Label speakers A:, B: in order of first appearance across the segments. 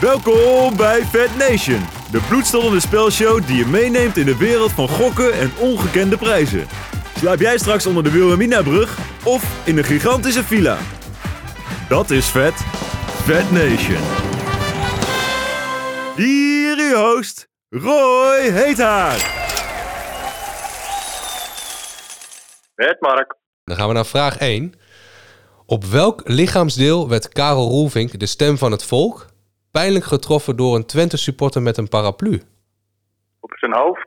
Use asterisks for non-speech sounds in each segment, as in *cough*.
A: Welkom bij Fat Nation, de bloedstollende spelshow die je meeneemt in de wereld van gokken en ongekende prijzen. Slaap jij straks onder de Wilhelminabrug of in een gigantische villa? Dat is vet. Fat Nation. Hier uw host, Roy Heethaar.
B: Bert Mark.
C: Dan gaan we naar vraag 1. Op welk lichaamsdeel werd Karel Roelvink, de stem van het volk, pijnlijk getroffen door een Twente-supporter met een paraplu?
B: Op zijn hoofd.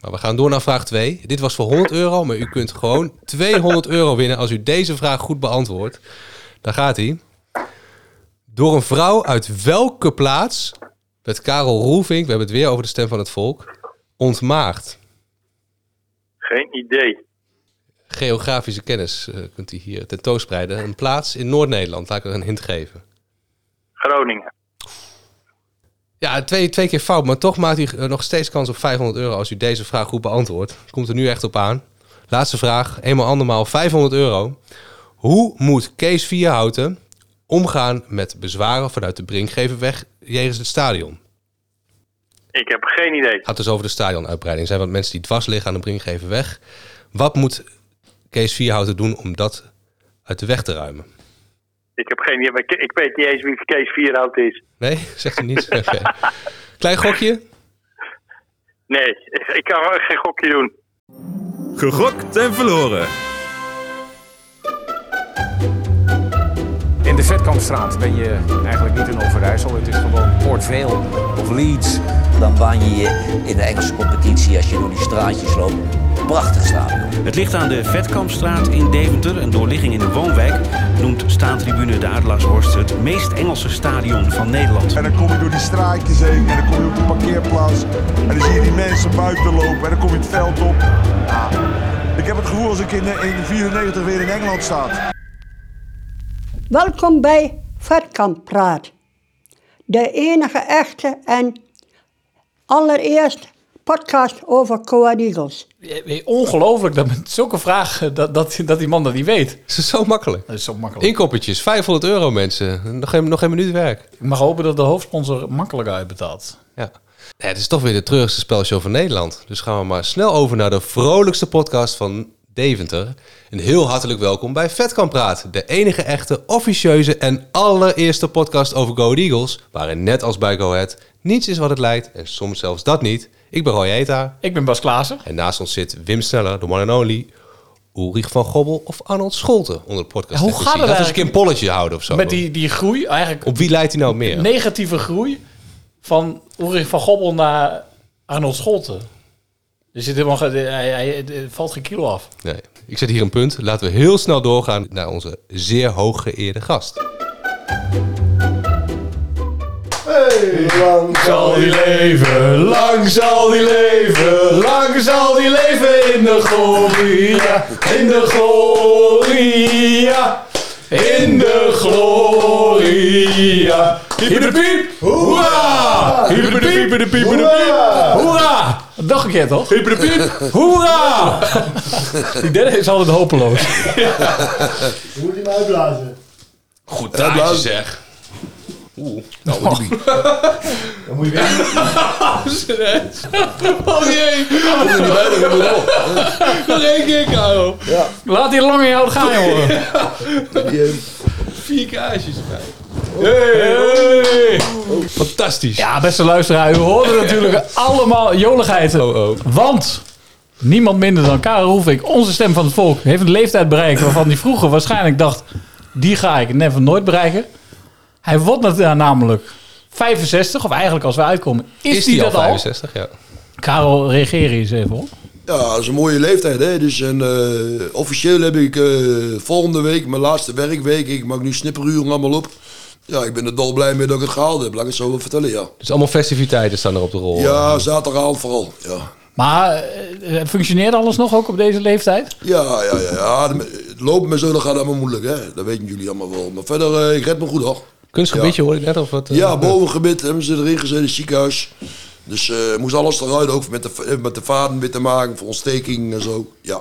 C: Nou, we gaan door naar vraag 2. Dit was voor 100 euro, maar u kunt gewoon 200 euro winnen als u deze vraag goed beantwoordt. Daar gaat hij. Door een vrouw uit welke plaats werd Karel Roelvink, we hebben het weer over de stem van het volk, ontmaagd?
B: Geen idee.
C: Geografische kennis eh, kunt u hier tentoonspreiden. Een plaats in Noord-Nederland, laat ik er een hint geven.
B: Groningen.
C: Ja, twee, twee keer fout, maar toch maakt u eh, nog steeds kans op 500 euro als u deze vraag goed beantwoordt. Komt er nu echt op aan. Laatste vraag, eenmaal andermaal 500 euro. Hoe moet Kees Vierhouten omgaan met bezwaren vanuit de Brinkgeverweg jegens het stadion?
B: Ik heb geen idee.
C: Het gaat dus over de stadionuitbreiding. Er zijn wat mensen die dwars liggen aan de Brinkgeverweg. Wat moet Kees Vierhouten doen om dat uit de weg te ruimen?
B: Ik heb geen idee. maar Ik, ik weet niet eens wie Kees Vierhout is.
C: Nee, *laughs* zegt u niet? Oké. Klein gokje?
B: Nee, ik, ik kan wel geen gokje doen.
A: Gegokt en verloren.
D: In de Vetkampstraat ben je eigenlijk niet in Overijssel, het is gewoon Port Vale of Leeds.
E: Dan baan je je in de Engelse competitie als je door die straatjes loopt. Prachtig stadion.
F: Het ligt aan de Vetkampstraat in Deventer, een doorligging in de woonwijk. Noemt staantribune de Adelaarshorst het meest Engelse stadion van Nederland.
G: En dan kom je door die straatjes heen en dan kom je op de parkeerplaats. En dan zie je die mensen buiten lopen en dan kom je het veld op. Ja, ik heb het gevoel als ik in, eh, in 94 weer in Engeland sta.
H: Welkom bij Vetkamp Praat. De enige echte en allereerst podcast over Coa Eagles.
I: Eh, eh, Ongelooflijk dat met zulke vragen dat, dat, dat die man dat niet weet.
C: Is het zo makkelijk?
I: Dat is zo makkelijk. Ik,
C: Inkoppertjes, 500 euro mensen. Nog geen, nog geen minuut werk.
I: mag hopen dat de hoofdsponsor makkelijk uitbetaalt.
C: Ja. Nee, het is toch weer de treurigste spelshow van Nederland. Dus gaan we maar snel over naar de vrolijkste podcast van Deventer. En heel hartelijk welkom bij Vetkamp Praat. De enige echte, officieuze en allereerste podcast over Go Ahead Eagles. Waarin net als bij Go Ahead niets is wat het lijkt en soms zelfs dat niet. Ik ben Roy Eta
I: Ik ben Bas Klaassen.
C: en naast ons zit Wim Sneller, de one and only. Ulrich van Gobbel of Arnold Scholten onder de podcast.
I: Ja, hoe gaat het
C: Laten we eens een keer
I: eigenlijk
C: een polletje houden of zo.
I: Met die, die groei, eigenlijk
C: Op wie leidt hij nou meer?
I: negatieve groei van Ulrich van Gobbel naar Arnold Scholten. Er zit helemaal, ge- hij, hij, er valt geen kilo af.
C: Nee. Ik zet hier een punt. Laten we heel snel doorgaan naar onze zeer hooggeëerde gast.
I: Zal die leven, lang zal die leven, lang zal die leven in de gloria, in de gloria, in de gloria. Hippiedepiep, hoera! Hippiedepiep, hoera! Dat dacht ik je toch? *laughs* Hippiedepiep, hoera! Die derde is altijd hopeloos.
C: Goed blaadje zeg.
I: Nou, *laughs* Oh jee! Nog één keer, Karel. Laat die lange jou gaan, jongen.
C: Vier kaarsjes erbij. Fantastisch.
I: Ja, beste luisteraar, u hoorde *laughs* natuurlijk allemaal joligheid. Want niemand minder dan Karel Roefink, onze stem van het volk, heeft een leeftijd bereikt waarvan hij vroeger waarschijnlijk dacht: die ga ik never nooit bereiken. Hij wordt natuurlijk namelijk 65, of eigenlijk als we uitkomen, is,
C: Is
I: hij
C: die al
I: dat al?
C: 65? Ja.
I: Karel, reageer eens even hoor.
J: Ja, dat is een mooie leeftijd. Hè? Dus, en, eh, officieel heb ik eh, volgende week mijn laatste werkweek. Ik maak nu snipperuren allemaal op. Ja, ik ben er dol blij mee dat ik het gehaald heb. Laat ik het zo wel vertellen, ja.
C: Dus allemaal festiviteiten staan er op de rol.
J: Ja, zaterdagavond vooral. Ja,
I: Maar eh, eh, functioneert alles nog ook op deze leeftijd?
J: ja, ja. ja, ja. Het Lopen met zo, dat gaat allemaal moeilijk, hè. Dat weten jullie allemaal wel. Maar verder, eh, ik red me goed, hoor.
C: Kunstgebiedje hoor ik net of wat? eh,
J: Ja, bovengebit hebben ze erin gezet in het ziekenhuis. Dus eh, moest alles eruit, ook met de, eh, met de vaden weer te maken voor ontsteking en zo. Ja,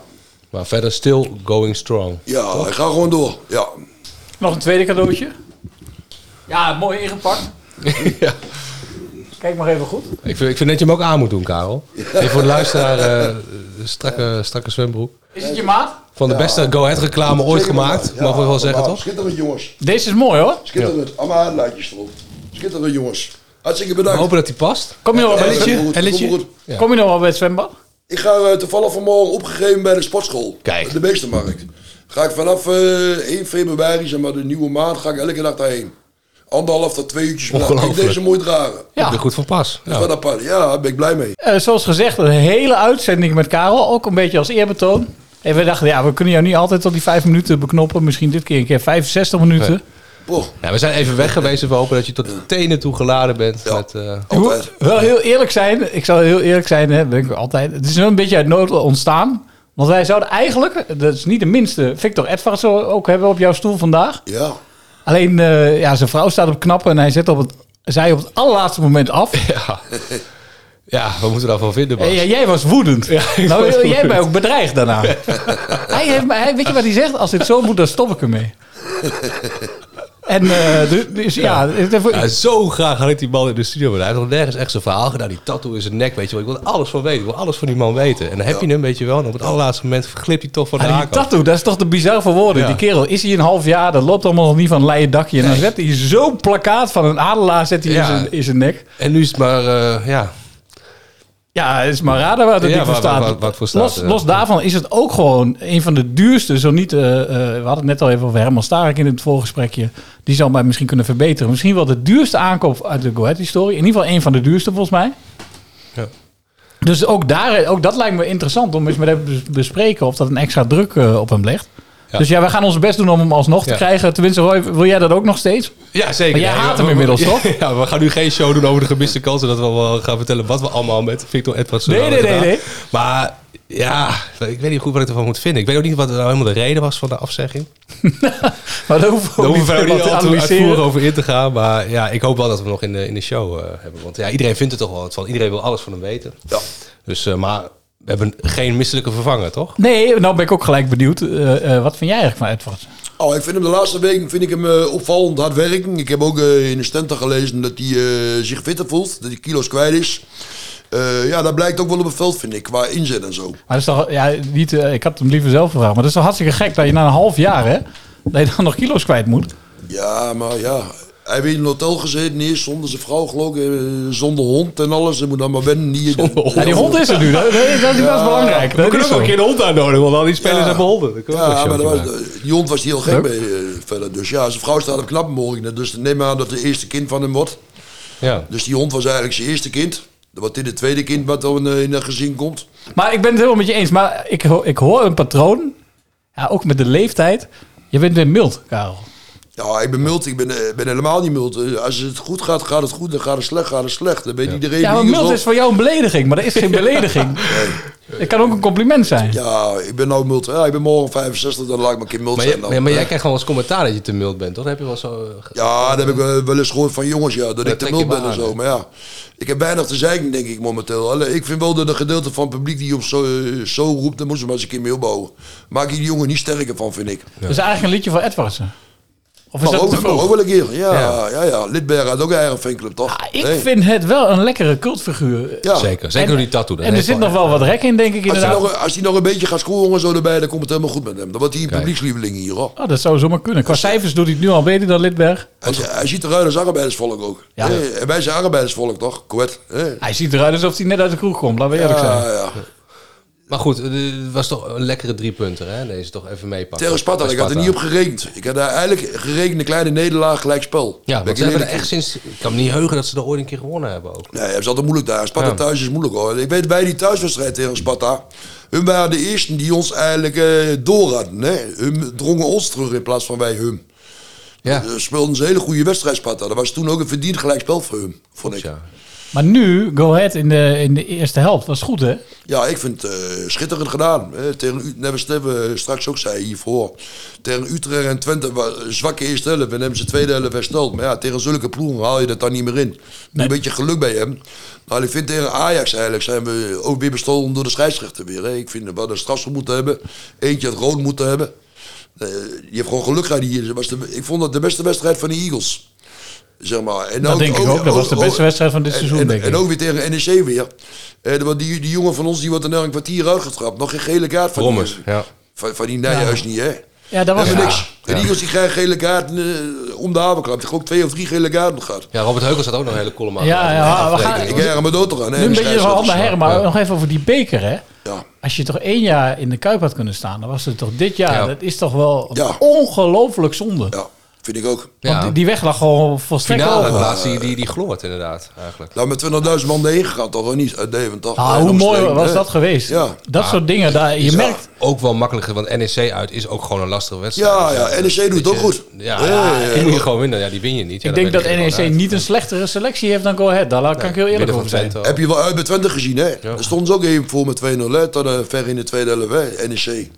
C: Maar verder still
J: *laughs*
C: going strong.
J: ja ik ga gewoon door. Ja,
I: Nog een tweede cadeautje? Ja, mooi ingepakt.
C: ja.
I: Kijk maar even goed.
C: Ik vind, ik vind dat je hem ook aan moet doen, Karel. Even voor de luisteraar, eh, strakke, strakke zwembroek.
I: Is het je maat?
C: Van de beste go-ahead reclame ooit gemaakt, mogen we wel zeggen, toch?
J: Schitterend jongens.
I: Deze is mooi hoor.
J: Schitterend. Allemaal luidjes erop. Schitterend jongens. Hartstikke
C: We
J: bedankt.
C: hopen dat hij past.
I: Kom je nog wel bij het,
J: Elletje?
I: zwembad?
J: Elletje?
I: Kom goed. Kom je nog wel bij het zwembad?
J: Ik ga eh, toevallig vanmorgen opgegeven bij de sportschool. Kijk. De meestermarkt. Ga ik vanaf eh 1 februari, zeg maar de nieuwe maand, ga ik elke dag daarheen. Anderhalf tot twee uurtjes per dag. Kijk,
C: Ongelooflijk.
J: deze mooi dragen.
C: Ja. Ik ben goed van pas.
J: Dat is wat apart. Ja, daar ben ik blij mee.
I: Eh, zoals gezegd, een hele uitzending met Karel. Ook een beetje als eerbetoon. En we dachten, ja, we kunnen jou niet altijd tot die vijf minuten beknoppen. Misschien dit keer een keer 65 minuten.
C: Nee. Ja, we zijn even weg geweest. en We hopen dat je tot de tenen toe geladen bent. Met, eh,
I: Ik moet wel heel eerlijk zijn. Ik zal heel eerlijk zijn, hè, ben ik altijd. Het is wel een beetje uit nood ontstaan. Want wij zouden eigenlijk, dat is niet de minste, Victor Edvards ook hebben op jouw stoel vandaag.
J: Ja.
I: Alleen, eh, ja, zijn vrouw staat op knappen en hij zet op het, zij op het allerlaatste moment af.
C: Ja. ja, we moeten daarvan vinden, Bas.
I: En ja, jij was woedend.
C: ik
I: nou,
C: was
I: jij
C: woedend.
I: bent ook
C: *laughs*
I: bedreigd daarna. hij heeft, mij- hij, weet je wat hij zegt? Als dit zo moet, dan stop ik ermee. En eh, du- dus ja, het- het-
C: Ja, zo graag had ik die man in de studio willen. Hij heeft nog nergens echt zijn verhaal gedaan. Die tattoo in zijn nek, weet je wel. Ik wil er alles van weten. Ik wil alles van die man weten. En dan heb je hem, weet je wel. En op het allerlaatste moment glipt hij toch van de
I: Ah, die
C: haak af.
I: tattoo, dat is toch de bizar verwoording.
C: Ja.
I: Die kerel is hier een half jaar, dat loopt allemaal nog niet van een leien dakje. En dan zet hij zo'n plakkaat van een adelaar zet hij in
C: Ja.
I: zijn- in zijn nek.
C: En nu is het maar, eh, ja.
I: Ja, het is maar raden waar dat
C: Ja,
I: ding voor
C: waar-
I: staat.
C: waar- waar- waar het voor staat, eh.
I: los,
C: ja.
I: los daarvan is het ook gewoon een van de duurste, zo niet... eh, eh, we hadden het net al even over Herman Stark in het voorgesprekje. Die zal mij misschien kunnen verbeteren. Misschien wel de duurste aankoop uit de Goethe-historie. In ieder geval een van de duurste volgens mij.
C: Ja.
I: Dus ook, daar, ook dat lijkt me interessant om eens met hem te bespreken... of dat een extra druk eh, op hem legt.
C: Ja.
I: Dus ja, we gaan ons best doen om hem alsnog
C: Ja.
I: te krijgen. Tenminste, Roy, wil jij dat ook nog steeds? *laughs*
C: Ja, zeker.
I: Maar
C: Ja,
I: jij haat
C: we-
I: hem
C: we-
I: inmiddels,
C: *laughs* ja,
I: toch?
C: Ja, we gaan nu geen show doen over de gemiste kansen. Dat we wel gaan vertellen wat we allemaal met Victor Edwards
I: Nee,
C: hebben
I: nee, nee,
C: gedaan.
I: nee.
C: Maar ja, ik weet niet goed wat ik ervan moet vinden. Ik weet ook niet wat nou helemaal de reden was van de afzegging.
I: Maar daar hoeven we
C: Daar
I: ook
C: hoeven we
I: niet
C: verder niet
I: helemaal
C: al
I: te
C: Oh, te
I: analyseren.
C: uitvoerig over in te gaan. Maar ja, ik hoop wel dat we hem nog in de, in de show eh, hebben. Want ja, iedereen vindt er toch wel wat van. Iedereen wil alles van hem weten. Ja. Dus, eh, maar we hebben geen misselijke vervanger, toch?
I: Nee, nou ben ik ook gelijk benieuwd. eh, eh, wat vind jij eigenlijk van Edwards?
J: Oh, ik vind hem de laatste weken vind ik hem, eh, opvallend hard werken. Ik heb ook eh, in de stenten gelezen dat hij eh, zich fitter voelt, dat hij kilo's kwijt is. Eh, ja, dat blijkt ook wel op het veld, vind ik, qua inzet en zo.
I: Maar dat is toch, ja, niet, eh, ik had hem liever zelf gevraagd. Maar dat is toch hartstikke gek dat je na een half jaar, hè, dat je dan nog kilo's kwijt moet.
J: Ja, maar ja. Hij heeft in een hotel gezeten, eerst zonder zijn vrouw geloof ik, eh, zonder hond en alles. Hij moet dan maar wennen. Hier.
I: Ja, die hond is er nu, dat, dat, dat is best belangrijk.
C: We
I: Dat
C: kunnen
I: is
C: ook wel
I: zo.
C: een keer een hond uitnodigen. Want al die spelers
J: Ja.
C: hebben honden. Dat kunnen we ook
J: Ja,
C: een
J: maar dat
C: showtje
J: was,
C: maken.
J: die hond was heel gek mee eh, verder. Dus ja, zijn vrouw staat op knappenmorgen. Dus neem aan dat het eerste kind van hem wordt.
C: Ja.
J: Dus die hond was eigenlijk zijn eerste kind. Wat dit het tweede kind wat dan eh, in een gezin komt.
I: Maar ik ben het helemaal met je eens. Maar ik, ho- ik hoor een patroon, ja, ook met de leeftijd. Je bent weer mild, Karel.
J: Ja, ik ben mild. Ik ben, eh, ben helemaal niet mild. Eh, Als het goed gaat, gaat het goed. Dan gaat het slecht, gaat het slecht. Dan weet iedereen...
I: Ja, maar
J: in ieder
I: mild
J: geval-
I: is voor jou een belediging, maar dat
J: *laughs*
I: is geen belediging. Het kan ook een compliment zijn.
J: Ja, ik ben nou mild. Ja, ik ben morgen 65, dan laat ik me een keer mild
C: Maar,
J: zijn.
C: jij-
J: dan.
C: maar, maar jij krijgt gewoon als commentaar dat je te mild bent, toch? Dan heb je wel zo... eh, ge-
J: Ja, dat heb ik wel wel eens gehoord van jongens, ja, dat ik te
C: trek
J: mild
C: je maar
J: ben en
C: aan,
J: zo.
C: hè.
J: Maar ja, ik heb weinig te zeiken, denk ik, momenteel. Allee, ik vind wel dat een gedeelte van het publiek die op zo, eh, zo roept, daar moeten ze maar eens een keer mee opbouwen. Maak je die jongen niet sterker van, vind ik.
I: Dat is eigenlijk een liedje van Edwardsen. Of is
J: Maar
I: dat
J: ook,
I: te
J: ook,
I: vroeg?
J: wel een keer. Ja,
C: Ja.
J: ja, ja. Lidberg had ook een eigen fanclub, toch?
I: Ik
J: Nee.
I: vind het wel een lekkere cultfiguur.
J: Ja.
C: Zeker, zeker
I: En-
C: door die tattoo. Dat
I: En er
C: heeft
I: zit nog wel wat rek in, denk ik
J: Als hij,
I: inderdaad.
J: nog, als hij nog een beetje gaat scoren en zo erbij, dan komt het helemaal goed met hem. Dan wordt hij een publiekslieveling hier, hoor.
I: Oh, dat zou zomaar kunnen. Qua cijfers doet hij het nu al beter dan Lidberg.
J: Hij, hij ziet eruit als arbeidersvolk ook.
I: Ja.
J: Hé, En wij zijn arbeidersvolk, toch? Kwet. hé.
I: Hij ziet eruit alsof hij net uit de kroeg komt, laten we eerlijk zijn.
J: Ja, ja.
C: Maar goed, eh, het was toch een lekkere driepunter, hè? Deze toch even meepakken.
J: Tegen Sparta,
C: Bij
J: ik had er niet op gerekend. Ik had daar eigenlijk gerekend een kleine nederlaag gelijk spel.
C: Ja,
J: Ben
C: want
J: ik
C: ze hebben er
J: eerlijk
C: echt sinds... Ik kan me niet heugen dat ze er ooit een keer gewonnen hebben ook.
J: in. Nee, hebben ze altijd moeilijk daar. Sparta
C: Ja.
J: thuis is moeilijk hoor. Ik weet bij die thuiswedstrijd tegen Sparta. Hun waren de eersten die ons eigenlijk eh door hadden. Hè? Hun drongen ons terug in plaats van wij hun.
C: Ja.
J: Ze speelden een hele goede wedstrijd, Sparta. Dat was toen ook een verdiend gelijkspel voor hun, vond ik. Ja,
C: Ja.
I: Maar nu, Go Ahead in de, in de eerste helft, was goed hè?
J: ik vind het eh, schitterend gedaan. Hè? Tegen Utrecht, net wat Steven eh, straks ook zei hiervoor. Tegen Utrecht en Twente, wa- zwakke eerste helft. En hebben ze tweede helft hersteld. Maar ja, tegen zulke ploegen haal je dat dan niet meer in. Een beetje geluk bij hem. Maar ik vind tegen Ajax eigenlijk zijn we ook weer bestolen door de scheidsrechter weer. Hè? Ik vind dat we een strafschop moeten hebben. Eentje het rood moeten hebben. Eh, je hebt gewoon geluk gehad hier. Dat was de- ik vond dat de beste wedstrijd van de Eagles. Zeg maar. en
I: Dat denk ik ook. Dat was de beste wedstrijd van dit
J: en-
I: seizoen,
J: en,
I: denk ik.
J: En ook weer tegen NEC weer. Eh, want die, die jongen van ons die wordt er nou een kwartier uitgetrapt. Nog geen gele kaart van
C: Brommers,
J: die,
C: ja.
J: van, van die Nijhuis niet, hè?
I: Ja, dat was
J: Helemaal
I: Ja.
J: niks. En die jongens die krijgen gele kaart eh, om de havenklap. Die ook twee of drie gele kaarten gehad.
C: Ja, Robert Heukels had ook nog een hele column aan.
I: Ja, ja, we gaan-
J: eh, Ik herinner me dood eraan. hè, Dus
I: nu een
J: de
I: beetje van handen
J: scheidsrechters.
I: her, maar nog even over die beker, hè?
J: Ja.
I: Als je toch één jaar in de Kuip had kunnen staan, dan was het toch dit jaar.
J: Ja.
I: Dat is toch wel
J: Ja.
I: ongelooflijk zonde.
J: Ja, vind ik ook.
I: Want die- die weg lag gewoon volstrekt
C: Finale
I: open.
C: plaats die, die, die gloort inderdaad, eigenlijk.
J: Nou, met 20.000 man heen gegaan, toch? Of niet? Uit Deventer.
I: Ah,
J: Eh,
I: hoe mooi
J: omstreken,
I: was
J: hè?
I: dat geweest?
J: Ja.
I: Dat soort dingen, daar, je merkt...
C: Ook wel makkelijker, want NEC uit is ook gewoon een lastige wedstrijd.
J: Ja, ja,
C: Dus, eh,
J: NEC doet het ook goed.
C: Ja,
J: Eh,
C: ja,
J: eh,
C: die moet je gewoon winnen. Ja, die win je niet. Ja,
I: Ik
C: dan
I: denk
C: ben
I: dat
C: je er gewoon
I: NEC
C: uit.
I: niet een slechtere selectie heeft dan Go Ahead. Daar kan ik heel eerlijk
C: Midden van
I: over zijn.
C: Twente
J: Heb je wel uit met 20 Eh, gezien, hè? Daar stonden ze ook even voor met 2-0, hè? Tot eh, ver in de tweede helft, hè? NEC.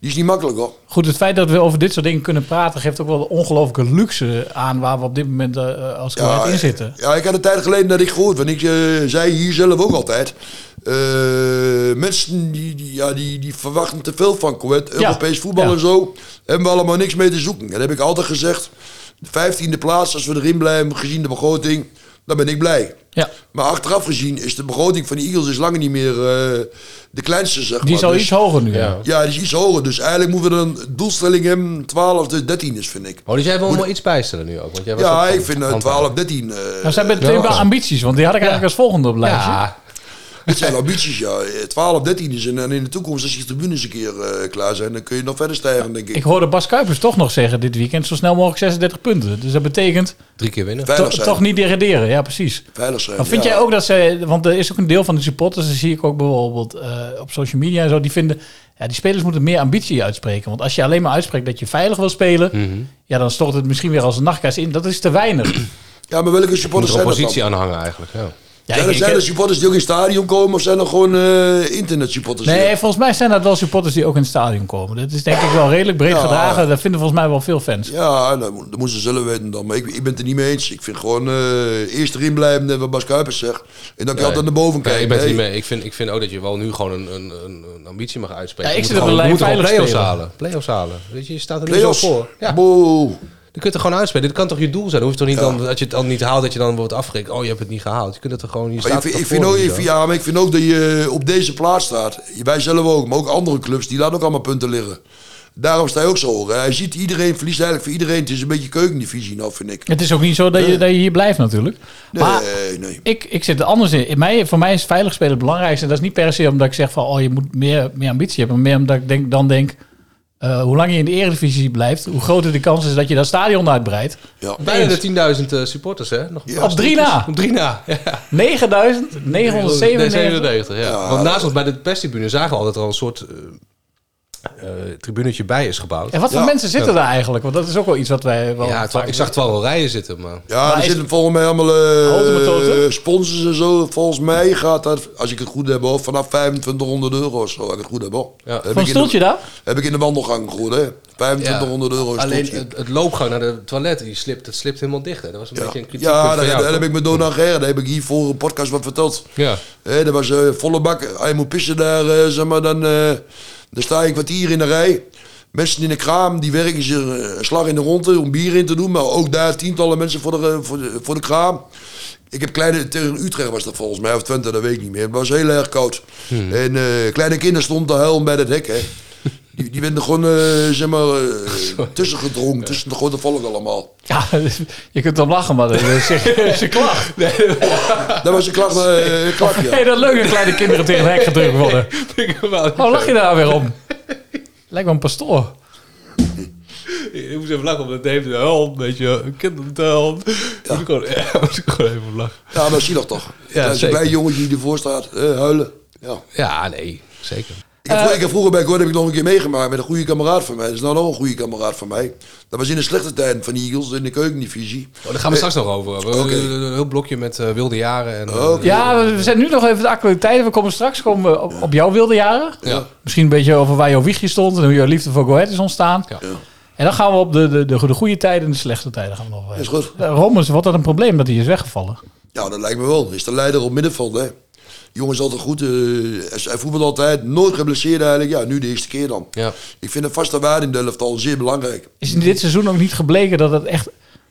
J: Die is niet makkelijk, hoor.
I: Goed, het feit dat we over dit soort dingen kunnen praten... geeft ook wel de ongelooflijke luxe aan... waar we op dit moment eh, als Go Ahead in zitten.
J: Ja, ik had een tijd geleden dat ik gehoord, want ik eh, zei hier zelf ook altijd. eh, mensen die, die, ja, die, die verwachten te veel van Coët,
I: Ja.
J: Europees voetbal
I: Ja.
J: en zo, hebben we allemaal niks mee te zoeken. Dat heb ik altijd gezegd. De vijftiende plaats, als we erin blijven, gezien de begroting, dan ben ik blij.
I: Ja.
J: Maar achteraf gezien is de begroting van de Eagles is lang niet meer eh, de kleinste, zeg maar.
I: Die is al
J: Dus-
I: iets hoger nu, ja.
J: Ja, die is iets hoger. Dus eigenlijk moeten we dan doelstelling hebben 12, dus 13 is, vind ik.
C: Oh, dus jij wil hem wel iets bijstellen nu ook. Want jij was ook
J: Ja,
C: van-
J: ik vind eh,
C: van-
J: 12, 13. eh,
I: Nou, ze hebben twee
C: Ja.
I: ambities, want die had ik eigenlijk als volgende op het lijstje.
C: Ja,
J: Dit zijn ambities, ja. 12, 13 is. En en in de toekomst, als die tribunes een keer eh, klaar zijn, dan kun je nog verder stijgen, denk ik.
I: Ik hoorde Bas Kuipers toch nog zeggen dit weekend zo snel mogelijk 36 punten. Dus dat betekent
C: drie keer winnen.
J: Veilig
I: to-
J: zijn.
I: toch niet degraderen. Ja, precies.
J: Veilig zijn.
I: Maar vind
J: ja.
I: jij ook dat ze, want er is ook een deel van de supporters, dat zie ik ook bijvoorbeeld eh, op social media en zo, die vinden, ja, die spelers moeten meer ambitie uitspreken. Want als je alleen maar uitspreekt dat je veilig wil spelen, ja, dan stort het misschien weer als een nachtkaas in. Dat is te weinig. *clears throat*
J: Ja, maar welke
C: Moet
J: supporters
C: er
J: zijn dat dan?
C: oppositie aan hangen eigenlijk. Ja.
I: Ja,
J: zijn
I: ik-
J: er,
I: ik-
J: zijn er supporters die ook in het stadion komen, of zijn er gewoon eh, internet supporters?
I: nee,
J: hier?
I: volgens mij zijn dat wel supporters die ook in het stadion komen. Dat is denk ik wel redelijk breed
J: Ja.
I: gedragen. Dat vinden volgens mij wel veel fans.
J: Ja, nou, mo- dat moeten ze zelf weten dan. Maar ik, ik ben het er niet mee eens. Ik vind gewoon eh, eerst erin blijven, net wat Bas Kuipers zegt. En dan kan je altijd naar boven
C: Nee,
J: kijken.
C: ik, ben het
J: Nee.
C: niet mee. Ik, vind, ik vind ook dat je wel nu gewoon een, een, een, een ambitie mag uitspreken.
I: Ja,
C: Je
I: ik
C: moet
I: zit op
C: gewoon-
I: een
C: je
I: lijn
C: moet gewoon
I: veilig
C: play-offs
I: spelen.
C: halen. Play-offs halen. Weet je, je staat er nu zo
J: Play-offs.
C: voor. Ja.
J: Boe.
C: Je kunt er gewoon uitspreken. Dit kan toch je doel zijn? Dan hoeft toch niet dan, dat je het dan niet haalt, dat je dan wordt afgerekend. Oh, je hebt het niet gehaald. Je kunt het er gewoon... Je
J: Maar ik
C: staat
J: vind,
C: er
J: ik,
C: toch
J: vind
C: voor
J: ook,
C: nu
J: ik
C: zo.
J: vind- ja, maar ik vind ook dat je eh, op deze plaats staat. Wij zelf ook, maar ook andere clubs, die laten ook allemaal punten liggen. Daarom sta je ook zo hoog. Hij ziet iedereen, verliest eigenlijk voor iedereen. Het is een beetje keukendivisie, nou vind ik.
I: Het is ook niet zo dat je, dat je hier blijft natuurlijk.
J: Nee,
I: maar
J: nee.
I: ik, ik zit er anders in. in mij, voor mij is veilig spelen het belangrijkste. En dat is niet per se omdat ik zeg van... oh, je moet meer, meer ambitie hebben. Maar meer omdat ik denk, dan denk... eh, hoe langer je in de eredivisie blijft... hoe groter de kans is dat je dat stadion uitbreidt.
J: Ja.
C: Bijna de 10.000 eh, supporters, hè? Nog
I: Op drie na.
C: *laughs* Op drie na. Ja.
I: 9.997.
C: 97, ja. Want naast ons bij de perstribune zagen we al dat er al een soort eh, eh, tribunetje bij is gebouwd.
I: En wat voor
J: Ja.
I: mensen zitten daar eigenlijk? Want dat is ook wel iets wat wij... Wel
C: Ja, twa-
I: vaak-
C: ik zag twaalf wel rijen zitten, maar...
J: Ja, er
I: is-
J: zitten volgens mij allemaal eh,
I: Houten metoten?
J: sponsors en zo. Volgens mij gaat dat, als ik het goed heb, hoor, vanaf 2500 euro of zo. Als ik het goed heb, hoor.
C: Ja.
J: Heb
C: Voor
J: ik
I: Van een
J: in de-
I: stoeltje daar?
J: Heb ik in de wandelgang gehoord, hè. 2500 euro is
C: Alleen
J: stoeltje.
C: het, het loopgang naar de toilet, die slipt, dat slipt helemaal dicht. hè. Dat was een
J: Ja,
C: beetje een kritiek.
J: ja daar, heb- daar heb ik met Dona Gerren, daar heb ik hier voor een podcast wat verteld.
C: Ja.
J: Hè, dat was eh, volle bak. Hij moet pissen daar, eh, zeg maar, dan, eh, dan sta je een kwartier in de rij. Mensen in de kraam, die werken zich eh, een slag in de ronde om bier in te doen. Maar ook daar tientallen mensen voor de, eh, voor de, voor de kraam. Ik heb kleine, tegen Utrecht was dat volgens mij, of Twente, dat weet ik niet meer. Het was heel erg koud. En eh, kleine kinderen stonden te huilen bij het hek, hè. Die, die werden er gewoon, eh, zeg maar, eh, tussen gedrongen, tussen de grote volk allemaal.
I: Ja, *laughs* je kunt om lachen, maar dat is een
J: *laughs*
I: klacht.
J: Dat was een klacht, eh, klacht ja.
I: *laughs* Hey, dat leuk dat kleine kinderen tegen het hek gedrukt worden. Oh, lach je daar weer om? Lijkt wel een pastoor.
C: Ik moest even lachen, omdat Dave de helm, weet je, een kind op de helm. Moet ik gewoon, ja, *laughs* moest ik gewoon even om lachen.
J: Ja, dat zie je toch.
C: Ja,
J: Ja, een
C: zeker.
J: blij jongetje die ervoor staat, eh, huilen. Ja.
C: Ja, nee, zeker.
J: Ik,
I: Eh,
J: heb, vro- ik heb vroeger bij Gordon heb ik nog een keer meegemaakt met een goede kameraad van mij. Dat is nou nog een goede kameraad van mij. Dat was in de slechte tijd van de Eagles, in de keukendivisie.
C: Oh, daar gaan we straks nog over hebben. We-
J: Eh. Oké.
C: Een heel blokje met eh, wilde jaren. En, eh,
J: Oké.
I: Ja, we we zijn nu nog even de actualiteit. We komen straks komen we op, op jouw wilde jaren.
C: Ja.
I: Misschien een beetje over waar jouw wiegje stond en hoe jouw liefde voor Go Ahead is ontstaan.
C: Ja.
I: En dan gaan we op de, de, de, goede- de goede tijden en de slechte tijden gaan we nog
J: Is
I: even.
J: goed.
I: Eh, Rommers, wordt dat een probleem dat hij is weggevallen?
J: Ja, dat lijkt me wel. Is de leider op middenveld, hè. Jongens altijd goed. eh, hij voetbalt altijd. Nooit geblesseerd eigenlijk. Ja, nu de eerste keer dan.
C: Ja.
J: Ik vind een vaste waarde in de elftal zeer belangrijk.
I: Is in dit seizoen ook niet gebleken dat het echt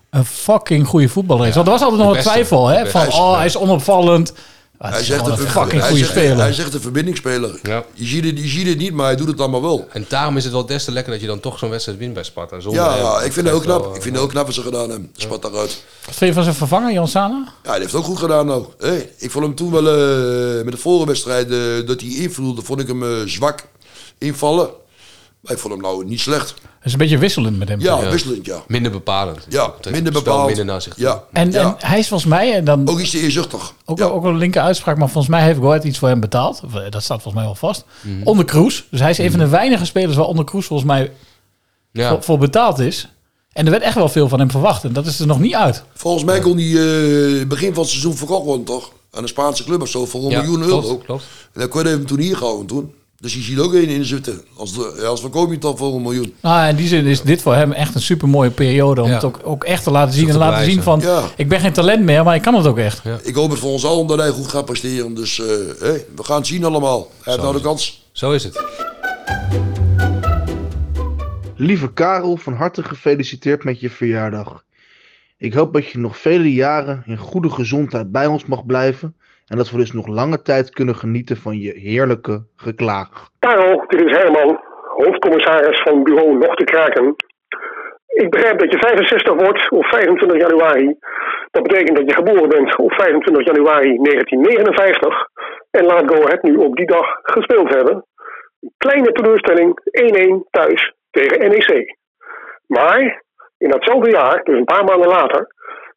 I: een fucking goede voetballer is. Want er was altijd nog
J: de
I: een
J: beste.
I: twijfel, hè?
J: De
I: Van,
J: beste.
I: oh, hij is onopvallend. Maar het
J: Hij
I: is
J: zegt,
I: gewoon
J: een
I: een
J: ver-
I: fucking
J: hij,
I: goede
J: zegt,
I: speler.
J: hij zegt een verbindingsspeler. Je, ziet het, je ziet het niet, maar hij doet het allemaal wel.
C: En daarom is het wel des te lekker dat je dan toch zo'n wedstrijd wint bij Sparta. Zonder
J: Ja,
C: hem.
J: ja, ik vind het heel
C: geeft wel,
J: knap.
C: eh,
J: Ik vind het heel knap wat ze gedaan hebben. Spat daaruit.
I: Wat vind je van zijn vervanger, Jan Sana?
J: Ja, hij heeft het ook goed gedaan nou. Hé, ik vond hem toen wel eh, met de vorige wedstrijd eh, dat hij inviel, dan vond ik hem eh, zwak invallen. Maar ik vond hem nou niet slecht.
I: Dat is een beetje wisselend met hem.
J: Ja, wisselend, ja.
C: eh, Minder bepalend.
J: Ja,
C: Het
J: minder
C: spel
J: bepaald.
C: Minder naar zich toe.
J: Ja.
I: En,
J: ja.
I: en hij is volgens mij, en dan
J: Ook iets te eerzuchtig.
I: ook, wel- ook wel een linker uitspraak, maar volgens mij heeft Goethe iets voor hem betaald. Of, eh, Dat staat volgens mij wel vast. Onder Kroes. Dus hij is een van de weinige spelers waar onder Kroes volgens mij
C: Ja.
I: voor, voor betaald is. En er werd echt wel veel van hem verwacht. En dat is er nog niet uit.
J: Volgens mij kon hij eh, begin van het seizoen verkocht worden, toch? Aan een Spaanse club of zo, voor een
C: Ja,
J: miljoen
C: klopt,
J: euro.
C: klopt.
J: En dan kon hij hem toen hier gehouden toen. Dus je ziet ook één in zitten. Als, de, ja, als verkoop je hem toch voor een miljoen.
I: Nou, in die zin is dit voor hem echt een super mooie periode. Om
J: Ja.
I: het ook, ook echt te laten zien.
J: Zo
I: En
J: te
I: laten
J: bewijzen.
I: zien van,
J: Ja.
I: ik ben geen talent meer, maar ik kan het ook echt.
J: Ik hoop het voor ons allen dat hij goed gaat presteren. Dus eh, hé, we gaan het zien allemaal. Hij heeft nou de kans.
C: Zo is het.
K: Lieve Karel, van harte gefeliciteerd met je verjaardag. Ik hoop dat je nog vele jaren in goede gezondheid bij ons mag blijven. En dat we dus nog lange tijd kunnen genieten van je heerlijke geklaag.
B: Karel, dit is Herman, hoofdcommissaris van bureau Nog te Kraken. Ik begrijp dat je 65 wordt op 25 januari. Dat betekent dat je geboren bent op 25 januari 1959. En laat Go Ahead nu op die dag gespeeld hebben. Een kleine teleurstelling, 1-1 thuis tegen NEC. Maar in datzelfde jaar, dus een paar maanden later,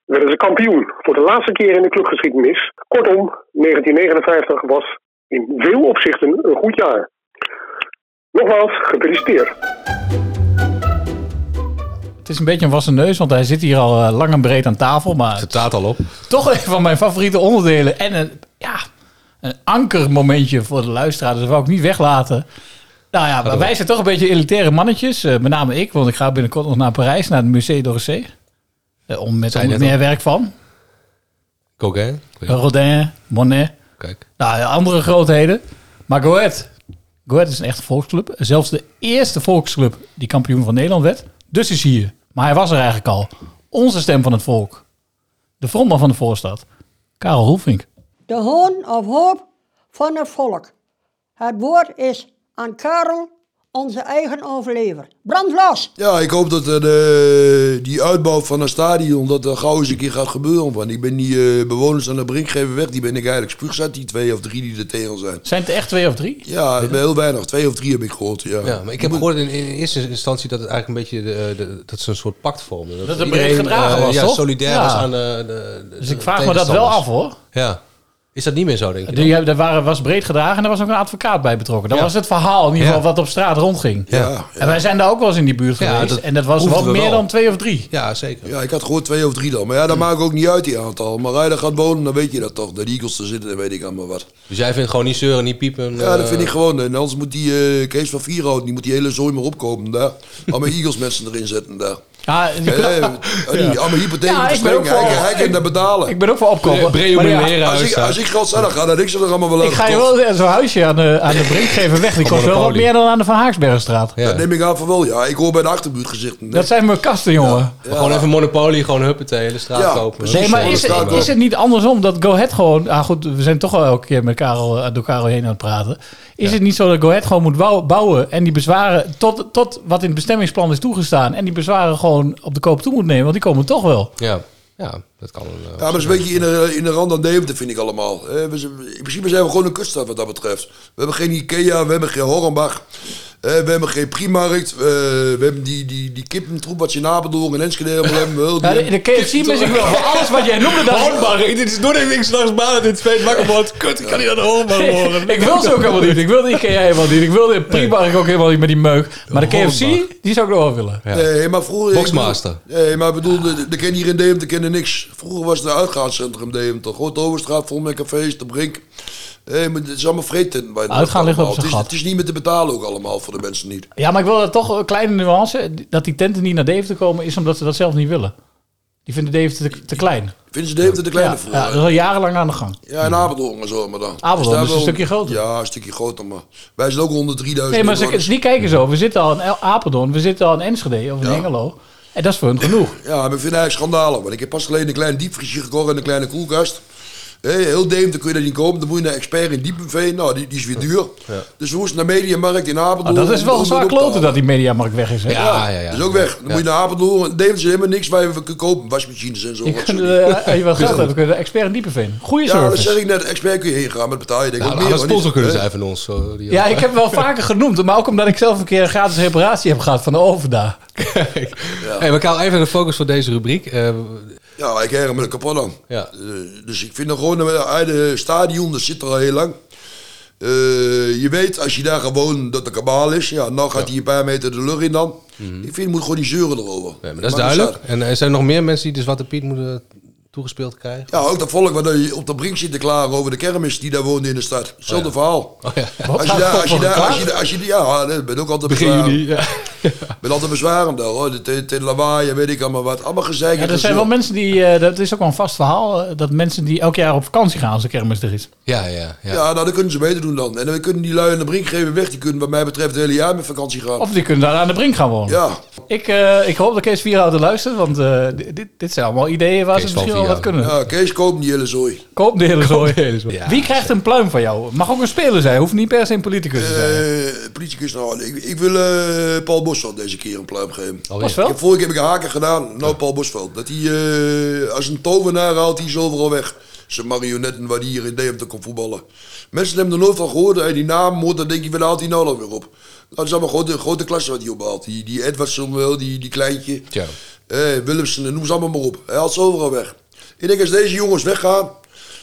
B: werden ze kampioen. Voor de laatste keer in de clubgeschiedenis. Kortom, 1959 was in veel opzichten een goed jaar. Nogmaals, gefeliciteerd.
I: Het is een beetje een wassen neus, want hij zit hier al eh, lang en breed aan tafel. Maar het
C: staat al op.
I: Toch een van mijn favoriete onderdelen. En een, ja, een ankermomentje voor de luisteraar. Dus dat wou ik niet weglaten. Nou ja, maar wij zijn toch een beetje elitaire mannetjes. eh, met name ik, want ik ga binnenkort nog naar Parijs, naar het Musée d'Orsay. Eh, om met
C: Zei je
I: onder
C: net
I: meer werk van.
C: Coquin.
I: Rodin, Monet.
C: Kijk.
I: Nou, andere grootheden. Maar Go Ahead. Go Ahead is een echte volksclub. Zelfs de eerste volksclub die kampioen van Nederland werd. Dus is hier. Maar hij was er eigenlijk al. Onze stem van het volk. De frontman van de voorstad. Karel Hoefink.
H: De hoon of hoop van het volk. Het woord is aan Karel, onze eigen overlever. Brand los!
J: Ja, ik hoop dat eh, de- die uitbouw van een stadion dat er gauw eens een keer gaat gebeuren. Want ik ben die eh, bewoners aan de Brinkgever weg, die ben ik eigenlijk spuugzat, die twee of drie die er tegen zijn.
I: Zijn het er echt twee of drie?
J: Ja, bij heel weinig. Twee of drie heb ik gehoord. Ja,
C: Ja, maar ik heb gehoord in, in eerste instantie dat het eigenlijk een beetje de, eh, de- dat ze een soort pact vormden.
I: Dat het breed gedragen
C: eh,
I: was,
C: ja,
I: toch?
C: solidair
I: Ja.
C: was aan de, de- de-
I: Dus
C: de
I: ik vraag me dat wel
C: tegenstanders.
I: af hoor.
C: Ja. Is dat niet meer zo, denk je?
I: Die, daar waren, was breed gedragen en er was ook een advocaat bij betrokken. Dat
C: Ja.
I: was het verhaal in ieder geval
C: Ja.
I: wat op straat rondging.
C: Ja,
I: En wij zijn daar ook wel eens in die buurt
J: Ja,
I: geweest.
J: dat
I: en dat was
J: hoefden
I: wat
J: we
I: meer
J: wel.
I: dan twee of drie.
C: Ja, zeker. Hm.
J: Ja, ik had gehoord twee of drie dan. Maar ja, dat maakt ook niet uit, die aantal. Maar als je daar gaat wonen, dan weet je dat toch. De Eagles er zitten, dan weet ik allemaal wat.
C: Dus jij vindt gewoon niet zeuren, niet piepen.
J: Ja, dat vind
C: eh,
J: ik gewoon. En anders moet die eh, Kees van Vierhout, die moet die hele zooi maar opkomen daar. Allemaal Eagles mensen erin zetten daar.
I: Ja,
J: Eh, die,
I: *laughs*
J: Allemaal hypotheken
I: Ja, ik ben ook
J: verstrengen.
I: voor-
J: Hij, hij kan dat betalen.
I: Ik ben ook voor opkomen.
C: Breo
I: Maar ja,
C: Mulera
J: Als ik,
C: huis,
J: als ik geld zelf ga, dan ik ze er allemaal wel
I: Ik ga je
J: uitgekocht.
I: wel zo'n huisje aan de, aan de Brinkgeverweg. Die kost wel wat
J: Monopolie.
I: meer dan aan de Van Haaksbergstraat.
J: Dat neem ik aan van wel, ja. Ik hoor bij de achterbuurt gezichten.
I: Dat zijn mijn kasten, jongen.
C: maar Gewoon even Monopoly, gewoon huppatee, hele straat
J: Ja,
C: kopen.
I: Nee, maar is, het- is het niet andersom dat Go Ahead gewoon... Ah goed, we zijn toch wel elke keer met Karel, eh, door Karel heen aan het praten. Is het niet zo dat Go Ahead gewoon moet wou- bouwen... en die bezwaren tot, tot wat in het bestemmingsplan is toegestaan... en die bezwaren gewoon op de koop toe moet nemen? Want die komen toch wel.
C: Ja, ja dat kan eh. wel.
J: Ja, maar dat is een beetje in de, in de rand aan Deventer, vind ik allemaal. Eh, we zijn- in principe zijn we gewoon een kuststad wat dat betreft. We hebben geen Ikea, we hebben geen Hornbach. eh, we hebben geen Primarkt. eh, we hebben die, die, die kippentroep wat je nabedoor in Enschede helemaal hebben. we wel. Die
I: Ja, de- de KFC
J: kippentroep.
I: mis ik wel.
J: *laughs*
I: Voor alles wat jij noemde, *laughs* dat-
C: Hornbach, dit is doordat ik s'nachts baan dit zweet wakker word. Kut, ik kan niet aan de Hornbach
I: *laughs*
C: horen.
I: ik wil ze ook helemaal niet. Ik wil de IKEA helemaal niet. Ik wil de Primark ook helemaal niet met die meuk. Maar de KFC, die zou ik nog wel willen.
J: Nee, maar vroeger...
I: Boxmaster.
J: ik bedoel- Nee, maar ik bedoel, de, de ken hier in Deventer kennen niks. Vroeger was het een uitgaanscentrum Deventer. Grote Overstraat vol met cafés, de Brink. Hé, maar het is allemaal vreten. bij de
I: Uitgaan ligt op
J: allemaal.
I: zijn
J: het, is,
I: gat.
J: het is niet meer te betalen ook allemaal voor de mensen niet.
I: Ja, maar ik wil er toch een kleine nuance. Dat die tenten niet naar Deventer komen, is omdat ze dat zelf niet willen. Die vinden Deventer te, te klein.
J: Vinden ze Deventer te klein
I: Ja,
J: voor?
I: ja, dat is al jarenlang aan de gang.
J: Ja, in Apeldoorn en zo, maar dan. Dus
I: Apeldoorn
J: daar
I: is een
J: wel-
I: stukje groter.
J: Ja, een stukje groter, maar wij zijn ook 103.000
I: Nee, maar ze,
J: inwoners.
I: ze- die kijken zo. We zitten al in El- Apeldoorn, we zitten al in Enschede of in Engelo. En dat is voor hun genoeg.
J: Ja, maar ik vind hij schandalig. Want ik heb pas geleden een klein diepvriesje gekocht en een kleine koelkast. Hé, Eh, heel Deventer kun je dat niet kopen. Dan moet je naar expert in Diepenveen. Nou, die, die is weer duur. Dus we moesten naar Mediamarkt in Apeldoorn.
I: Ah, dat is wel
J: om- om-
I: zwaar
J: om-
I: kloten dat die mediamarkt weg is. Hè?
J: Ja, ja, is ook weg. Dan moet je naar Apeldoorn. Deventer is helemaal niks waar je kunnen kopen. Wasmachines en zo.
I: Je
J: wat
I: kunt,
J: soort
I: eh,
J: dingen.
I: als
J: *laughs*
I: je wel geld
J: Ja.
I: hebt, kun je de expert in Diepenveen. Goeie
J: ja,
I: service.
J: dat zeg ik net. Expert kun je heen gaan, maar dat betaal je denk ik
C: Nou, dat
J: ook
C: had
J: meer. hoor,
C: sponsor
J: niet?
C: kunnen
J: Hè?
C: zijn van ons. zo, die-
I: Ja, ik heb
J: *laughs*
I: wel vaker genoemd, maar ook omdat ik zelf een keer een gratis reparatie heb gehad van de Overda.
C: *laughs* Hey, we gaan even naar de focus van deze rubriek. Eh,
J: Ja, maar ik herinner me de kapot aan. Eh, dus ik vind dat gewoon een aardige stadion, dat zit er al heel lang. Eh, je weet als je daar gewoon dat de kabaal is, ja, nou gaat hij een paar meter de lucht in dan. Ik vind je moet gewoon niet zeuren erover.
C: Mhm. ja, maar dat is duidelijk. En er zijn nog meer mensen die dus de Zwarte Piet moeten toegespeeld krijgen.
J: Ja, ook dat volk wat er op de brink zit te klagen over de kermis die daar woonde in de stad. Hetzelfde verhaal. Oh, Als je daar, als je daar, als je daar, als je, ja, ik ben ook altijd
C: Begin
J: bezwaren.
C: juni, ja.
J: Ik ben altijd bezwaren daar hoor, de, de, de lawaai en weet ik allemaal wat. Allemaal gezeik en
I: Ja, er zijn
J: gezeur.
I: wel mensen die, eh, dat is ook wel een vast verhaal, eh, dat mensen die elk jaar op vakantie gaan als de kermis er is.
C: Ja, ja,
J: Ja, nou, dat kunnen ze beter doen dan. En dan kunnen die lui aan de brink geven weg. Die kunnen wat mij betreft het hele jaar met vakantie gaan.
I: Of die kunnen daar aan de brink gaan wonen.
J: Ja.
I: Ik, eh, ik hoop dat Kees Vierhouten luistert, want eh, di- dit, dit zijn allemaal ideeën waar ze misschien wel wat kunnen.
J: Ja, Kees koopt die hele zooi.
I: Koop de hele zooi.
J: Ja,
I: Wie krijgt een pluim van jou? Mag ook een speler zijn, hoeft niet per se een politicus te zijn.
J: Eh, politicus, nou, ik, ik wil eh, Paul Bosveld deze keer een pluim geven.
I: ja. Bosveld?
J: Eh, Ik heb, vorige keer heb ik een haken gedaan. Nou, Paul Bosveld. Dat hij eh, als een tovenaar haalt, hij is overal weg. Zijn marionetten waar hij hier in Deventer kon voetballen. Mensen hebben er nooit van gehoord. Hij die naam hoort, dan denk je, waar haalt hij nou dan weer op? Dat is allemaal grote, grote klasse wat hij ophaalt. Die, die Edwardson wel, die, die kleintje.
C: Ja.
J: Eh, Willemsen, eh, noem ze allemaal maar op. Hij haalt ze overal weg. Ik denk als deze jongens weggaan,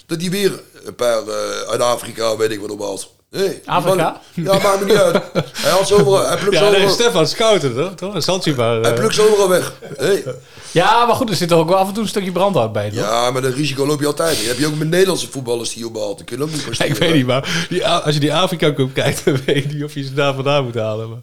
J: dat die weer een paar eh, uit Afrika, weet ik wat, ophaalt. Nee,
I: Afrika? *laughs*
J: ja, maakt me niet uit. Hij haalt ze overal, hij plukt ze
C: Ja, nee,
J: overal,
C: Stefan Schouten, toch? toch? Een Zanzibar.
J: hij
C: eh.
J: plukt ze overal weg. Hey.
I: Ja, maar goed, er zit er ook wel af en toe een stukje brandhout bij. toch? *laughs*
J: Ja, maar dat risico loop je altijd. Dat heb je ook met Nederlandse voetballers die ophaalt. Die kunnen ook niet
C: *laughs*
J: presteren.
C: Ik weet niet, maar die, A- als je die Afrika Cup kijkt,
I: *laughs*
C: dan weet ik niet of je ze daar vandaan moet halen. Maar.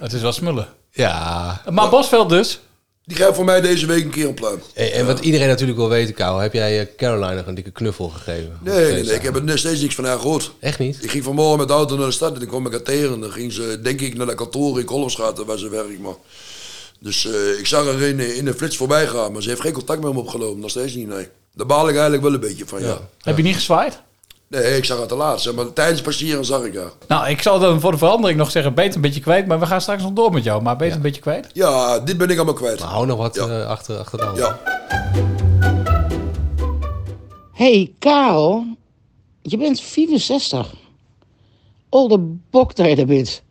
I: Het is wel smullen.
C: Ja.
I: Maar Bosveld dus?
J: Die gaat voor mij deze week een keer een pluim.
C: Hey, en wat iedereen natuurlijk wil weten, Karel, heb jij eh, Caroline nog een dikke knuffel gegeven?
J: Nee, nee, nee, ik heb er nog steeds niks van haar gehoord.
C: Echt niet?
J: Ik ging vanmorgen met de auto naar de stad en dan kwam ik haar tegen. En dan ging ze, denk ik, naar de kantoor in Kolmsgaten waar ze werkt. Maar. Dus eh, ik zag haar in, in een flits voorbij gaan, maar ze heeft geen contact met hem opgenomen. Nog steeds niet, nee. Daar baal ik eigenlijk wel een beetje van, ja.
I: Heb je niet gezwaaid?
J: Nee, ik zag haar te laat. Zeg maar tijdens het passeren zag ik haar.
I: Nou, ik zal dan voor de verandering nog zeggen, beter een beetje kwijt. Maar we gaan straks nog door met jou, maar beter een beetje kwijt.
J: Ja, dit ben ik allemaal kwijt.
C: Maar hou nog wat eh, achter, achter de hand.
J: Ja.
L: hey, Karel, je bent 64. Olde bok dat je er bent.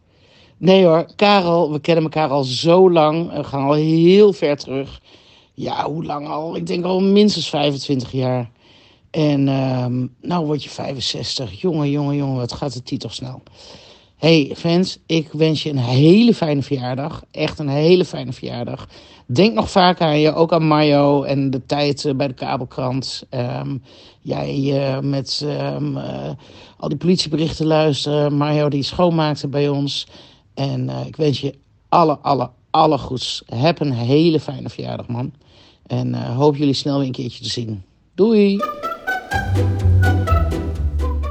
L: Nee hoor, Karel, we kennen elkaar al zo lang. We gaan al heel ver terug. Ja, hoe lang al? Ik denk al minstens 25 jaar. En ehm, nou word je 65. Jongen, jongen, jongen, wat gaat de titel snel. hey, fans, ik wens je een hele fijne verjaardag. Echt een hele fijne verjaardag. Denk nog vaak aan je, ook aan Mayo en de tijd eh, bij de kabelkrant. Ehm, jij eh, met ehm, eh, al die politieberichten luisteren. Mayo die schoonmaakte bij ons. En eh, ik wens je alle, alle, alle goeds. Heb een hele fijne verjaardag, man. En eh, hoop jullie snel weer een keertje te zien. Doei!